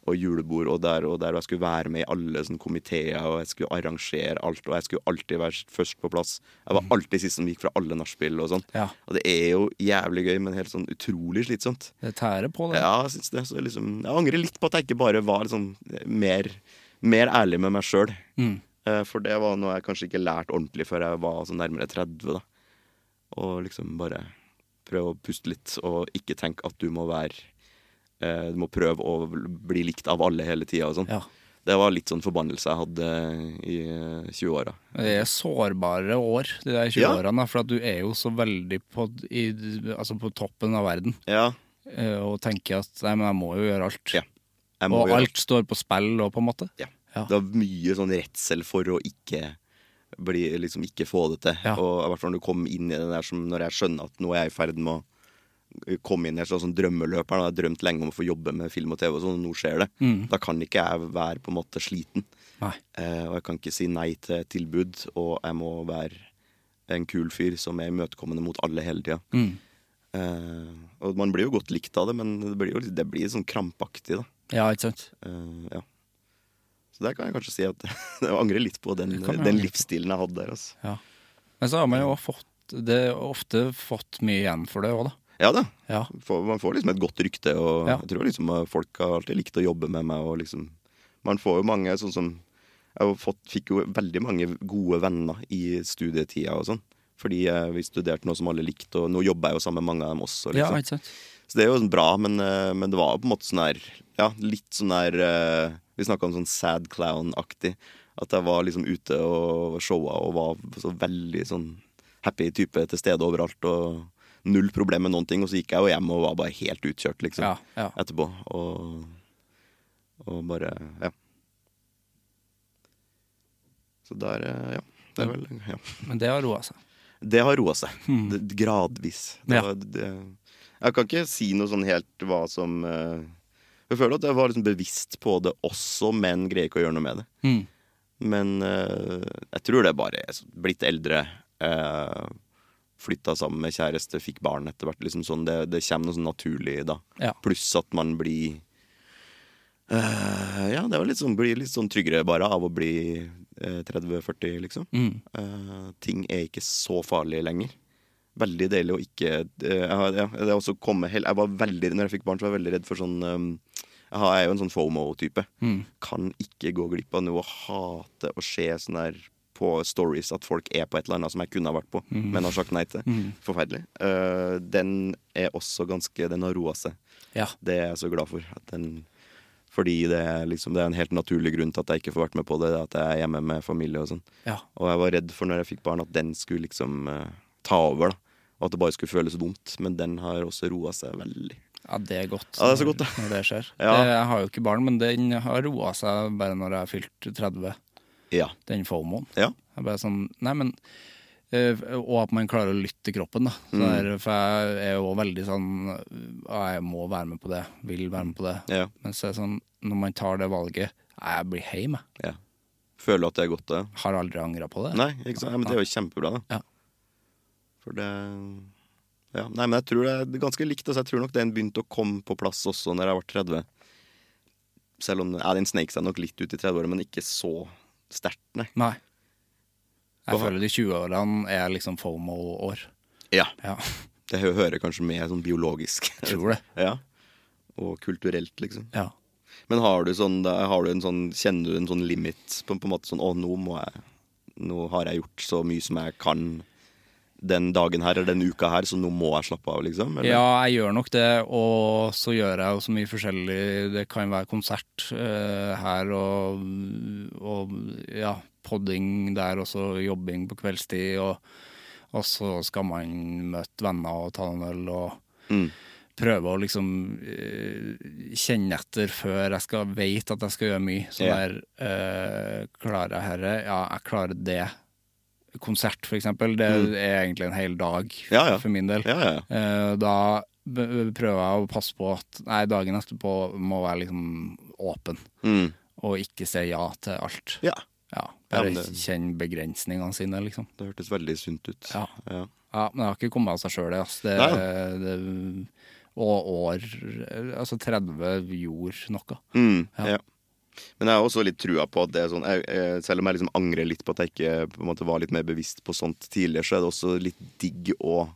og julebord og der og der, og jeg skulle være med i alle sånne komiteer, og jeg skulle arrangere alt, og jeg skulle alltid være først på plass. Jeg var alltid sist som gikk fra alle nachspiel og sånn.
Ja.
Og det er jo jævlig gøy, men helt sånn utrolig slitsomt.
Det tærer på det.
Ja, jeg syns det. Så liksom, jeg angrer litt på at jeg ikke bare var liksom mer, mer ærlig med meg sjøl. For det var noe jeg kanskje ikke lærte ordentlig før jeg var sånn nærmere 30. da Og liksom bare prøve å puste litt, og ikke tenke at du må være eh, Du må prøve å bli likt av alle hele tida og sånn.
Ja.
Det var litt sånn forbannelse jeg hadde i eh, 20-åra.
Det er sårbare år, de der 20-årene, for at du er jo så veldig på, i, altså på toppen av verden
Ja.
eh, og tenker at nei, men jeg må jo gjøre alt.
Ja, jeg må
Og
gjøre-
alt står på spill og på en måte.
Ja.
Ja.
Det var mye sånn redsel for å ikke bli, liksom ikke få det til.
Ja.
Og i hvert fall når du kom inn i det der som når jeg skjønner at nå er jeg i ferd med å komme inn i et slags sånn drømmeløp her, da. jeg har drømt lenge om å få jobbe med film og TV og sånn, og nå skjer det.
Mm.
Da kan ikke jeg være på en måte sliten.
Nei.
Eh, og jeg kan ikke si nei til tilbud, og jeg må være en kul fyr som er imøtekommende mot alle hele tida.
Mm.
Eh, og man blir jo godt likt av det, men det blir jo litt- det blir sånn krampaktig, da.
Ja, ikke sant.
Eh, ja. Så der kan jeg kanskje si at jeg angrer litt på den,
Det kan jeg
den
angre på.
livsstilen jeg hadde der. Altså.
Ja. Men så har man jo også fått det, ofte fått mye igjen for det òg, da.
Ja da.
Ja.
Får- Man får liksom et godt rykte, og
Ja.
jeg tror liksom at folk har alltid likt å jobbe med meg. Og liksom, man får jo mange sånn som Jeg har jo fått, fikk jo veldig mange gode venner i studietida og sånn. Fordi eh, vi studerte noe som alle likte, og nå jobber jeg jo sammen med mange av dem også.
Ja,
Liksom.
ikke sant?
Så det er jo sånn bra, men, eh, men det var jo på en måte sånn her Ja, litt sånn her eh, Vi snakka om sånn sad clown-aktig. At jeg var liksom ute og showa og var så veldig sånn happy type til stede overalt. Og null problem med noen ting. Og så gikk jeg jo hjem og var bare helt utkjørt, liksom.
Ja, ja.
Etterpå. Og, og bare Ja. Så der, eh, ja. Det er vel Ja.
Men det har roa seg.
Det har roa seg. Det- Gradvis. Det
Hmm. Ja.
var, det, jeg kan ikke si noe sånn helt hva som eh, Jeg føler at jeg var liksom bevisst på det også, men greier ikke å gjøre noe med det.
Mm.
Men eh, jeg tror det er bare jeg er blitt eldre. Uh, Flytta sammen med kjæreste, fikk barn etter hvert. Liksom sånn, det, det kommer noe sånn naturlig da.
Ja.
Pluss at man blir eh, Ja, det var litt sånn, blir litt sånn tryggere bare av å bli eh, 30-40, liksom.
Mm.
Eh, ting er ikke så farlig lenger. Veldig deilig å ikke eh, jeg har- ja, Det er også kommet hel- Jeg var veldig Når jeg fikk barn, så var jeg veldig redd for sånn eh, jeg har- jeg er jo en sånn FOMO-type. Kan ikke gå glipp av noe. Hate å se sånn der på stories at folk er på et eller annet som jeg kunne ha vært på, men har sagt nei til. Forferdelig. Eh, den er også ganske Den har roa seg.
Ja.
Det er jeg så glad for. At den, fordi det er, liksom, det er en helt naturlig grunn til at jeg ikke får vært med på det. det er At jeg er hjemme med familie og sånn.
Ja.
Og jeg var redd for når jeg fikk barn at den skulle liksom eh, ta over, da. Og at det bare skulle føles vondt. Men den har også roa seg veldig.
ja, det er godt.
Ja, det er så godt,
når,
da.
når det skjer.
Ja.
Det, jeg har jo ikke barn, men den har roa seg bare når jeg har fylt 30,
Ja.
den fomoen.
Ja.
Jeg bare sånn, nei, men eh, og at man klarer å lytte til kroppen. Da.
Mm.
Så der, for jeg er jo veldig sånn ja, Jeg må være med på det, vil være med på det.
ja.
Men så er det sånn, når man tar det valget nei, Jeg blir hjemme.
ja. Føler du at det er godt, det?
Har aldri angra på det.
Nei, ikke sant? Ja, men det er jo kjempebra, da.
Ja.
For det ja. Nei, men jeg tror det er ganske likt. Altså, jeg tror nok den begynte å komme på plass også når jeg var 30. Selv om ja, den snek seg nok litt ut i 30-åra, men ikke så sterkt, nei.
Nei. Jeg
Hva-
føler de 20-årene er liksom FOMO-år.
Ja.
Ja,
Det hø- hører kanskje med sånn biologisk.
tror det.
Ja. Og kulturelt, liksom.
Ja.
Men har du, sånn, da- har du en sånn Kjenner du en sånn limit på, på en måte sånn Å, nå må jeg Nå har jeg gjort så mye som jeg kan den dagen her eller den uka her, så nå må jeg slappe av, liksom? Eller?
ja, jeg gjør nok det, og så gjør jeg jo så mye forskjellig. Det kan være konsert eh, her og, og ja, podding der, og så jobbing på kveldstid. Og, og så skal man møte venner og ta en øl og
Mm.
prøve å liksom eh, kjenne etter før jeg skal veit at jeg skal gjøre mye. Sånn
Ja.
der eh, Klarer jeg herre? Ja, jeg klarer det. Konsert, for eksempel, det er egentlig en hel dag
Mm. Ja, ja.
for min del.
Ja, ja, ja.
Eh, Da b- b- prøver jeg å passe på at nei, dagen etterpå må være liksom åpen,
Mm.
og ikke si ja til alt.
ja.
Ja,
Ja,
bare
men det-
kjenne begrensningene sine, liksom.
Det hørtes veldig sunt ut.
Ja.
Ja.
Ja, men det har ikke kommet av seg sjøl, det, ass. Det,
Nei.
det. Og år Altså 30 gjorde noe.
Mm,
Ja.
ja. Men jeg har også litt trua på at det er sånn jeg, jeg, Selv om jeg liksom angrer litt på at jeg ikke på en måte, var litt mer bevisst på sånt tidligere, så er det også litt digg å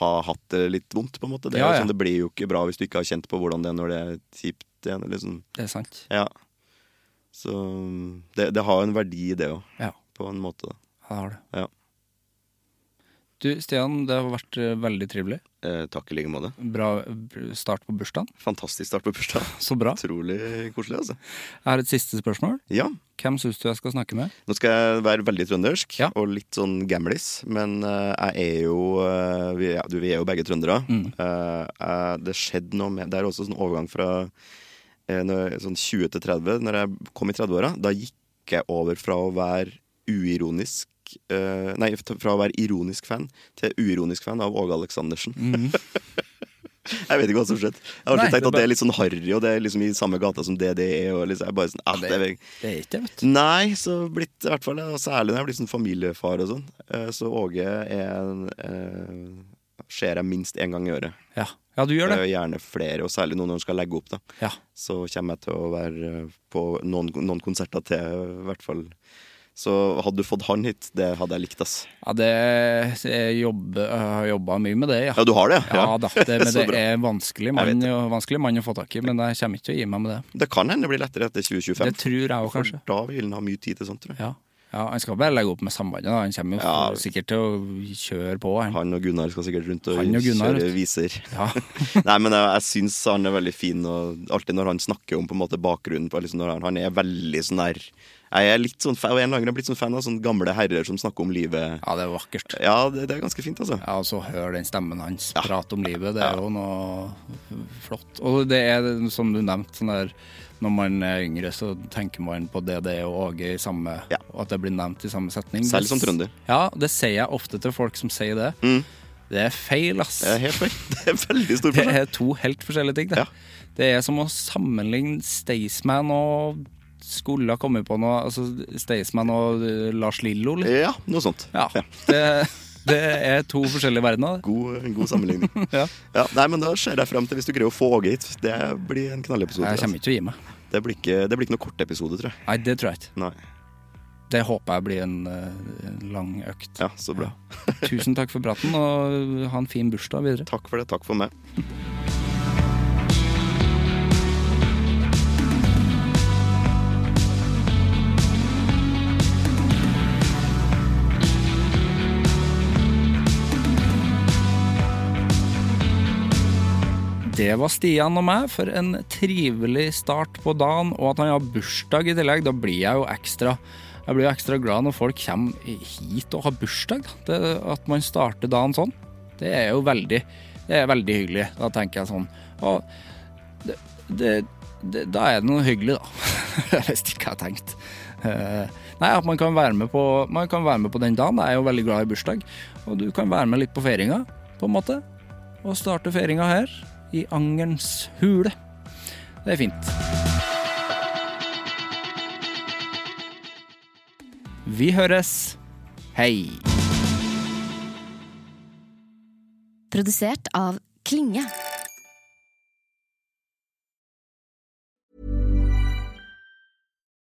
ha hatt det litt vondt, på en måte. Det, er
Ja,
jo
ja.
Sånn, det blir jo ikke bra hvis du ikke har kjent på hvordan det er når det er kjipt igjen. Liksom.
Det er sant.
Ja. Så mm, det, det har jo en verdi, i det òg,
Ja,
på en måte. da.
det har det.
Ja.
Du, Stian, det har vært eh, veldig trivelig.
Eh, takk i like måte.
Bra eh, start på bursdagen.
Fantastisk start på bursdag.
Så bra.
Utrolig koselig, altså.
Jeg har et siste spørsmål.
Ja.
Hvem syns du jeg skal snakke med?
Nå skal jeg være veldig trøndersk
Ja.
og litt sånn gamlis, men eh, jeg er jo eh, vi, er- du, vi er jo begge trøndere.
Mm.
Eh, eh, det skjedde noe med Det er også sånn overgang fra eh, når, sånn 20 til 30. Når jeg kom i 30-åra, da gikk jeg over fra å være uironisk eh, Nei, fra å være ironisk fan til uironisk fan av Åge Aleksandersen. jeg vet ikke hva som skjedde. Jeg
Mhm. Nei,
har alltid
det er
tenkt at det
bare-
er litt sånn harry, og det er liksom i samme gata som det det er. Og liksom, jeg er bare sånn, ah, det, er-
Det er ikke det, vet du.
Nei, så blitt i hvert fall og Særlig når jeg blir sånn familiefar og sånn. Eh, Så Åge er en eh, Ser jeg minst én gang i året.
Ja, ja du gjør det.
Eh, Gjerne flere, og særlig nå når han skal legge opp. da
Ja.
Så kommer jeg til å være eh, på noen, noen konserter til, i hvert fall. Så hadde du fått han hit, det hadde jeg likt, ass.
Ja, det jeg, jobber, jeg har jobba mye med det, ja.
Ja, du har det?
Ja da, det, men
Så
det
bra.
er vanskelig
Jeg
mann,
vet det.
å- vanskelig mann å få tak i. Men jeg kommer ikke til å gi meg med det.
Det kan hende det blir lettere etter 2025.
Det tror jeg òg,
For
kanskje.
Da vil han ha mye tid til sånt, tror jeg.
Ja. Ja, Han skal bare legge opp med sambandet. da. Han kommer jo
Ja.
sikkert til å kjøre på. Han.
Han og Gunnar skal sikkert rundt og,
Han og Gunnar, vet
kjøre
du.
viser.
Ja.
Nei, men jeg, jeg syns han er veldig fin, og alltid når han snakker om på en måte bakgrunnen på, liksom, når han, han er veldig sånn der Jeg er litt sånn fan, og en eller annen grunn er jeg blitt sånn fan av sånne gamle herrer som snakker om livet.
ja, det er vakkert.
Ja, det, det er ganske fint, altså.
Ja, og så hør den stemmen hans prate om livet. Det er jo noe flott. Og det er som du nevnte, sånn der når man er yngre, så tenker man på DDE og Åge i samme
Ja.
Og at det blir nevnt i samme setning.
Særlig som trønder. Mm.
Ja, det sier jeg ofte til folk som sier det. Det er feil, ass.
Det er helt feil. Det er veldig stor
Det
forskjell.
er to helt forskjellige ting. Det,
Ja.
det er som å sammenligne Staysman og skulle ha kommet på noe Altså Staysman og eh, Lars Lillo, litt.
Ja, noe sånt.
Ja. Det, det er to forskjellige verdener. det.
God, god sammenligning.
Ja.
Ja, nei, men Da ser jeg frem til hvis du greier å få Åge hit. Det blir en knallepisode.
Jeg kommer
Altså.
ikke til å gi meg.
Det, blir ikke, det blir ikke noe kort episode, tror jeg.
Nei, det tror jeg ikke.
Nei.
Det håper jeg blir en, eh, en lang økt.
Ja, Så bra.
Tusen takk for praten, og ha en fin bursdag videre.
Takk for det. Takk for meg.
Det var Stian og meg for en trivelig start på dagen, og at han har bursdag i tillegg, da blir jeg jo ekstra jeg blir jo ekstra glad når folk kommer hit og har bursdag. Da. Det, at man starter dagen sånn, det er jo veldig, det er veldig hyggelig. Da tenker jeg sånn Og det, det, det, da er det noe hyggelig, da. Hvis ikke jeg har tenkt. Eh, Nei, at man kan være med på Man kan være med på den dagen. Jeg er jo veldig glad i bursdag. Og du kan være med litt på feiringa, på en måte. Og starte feiringa her, i Angerens hule. Det er fint. Vi høres. Hei.
Produsert av Klinge.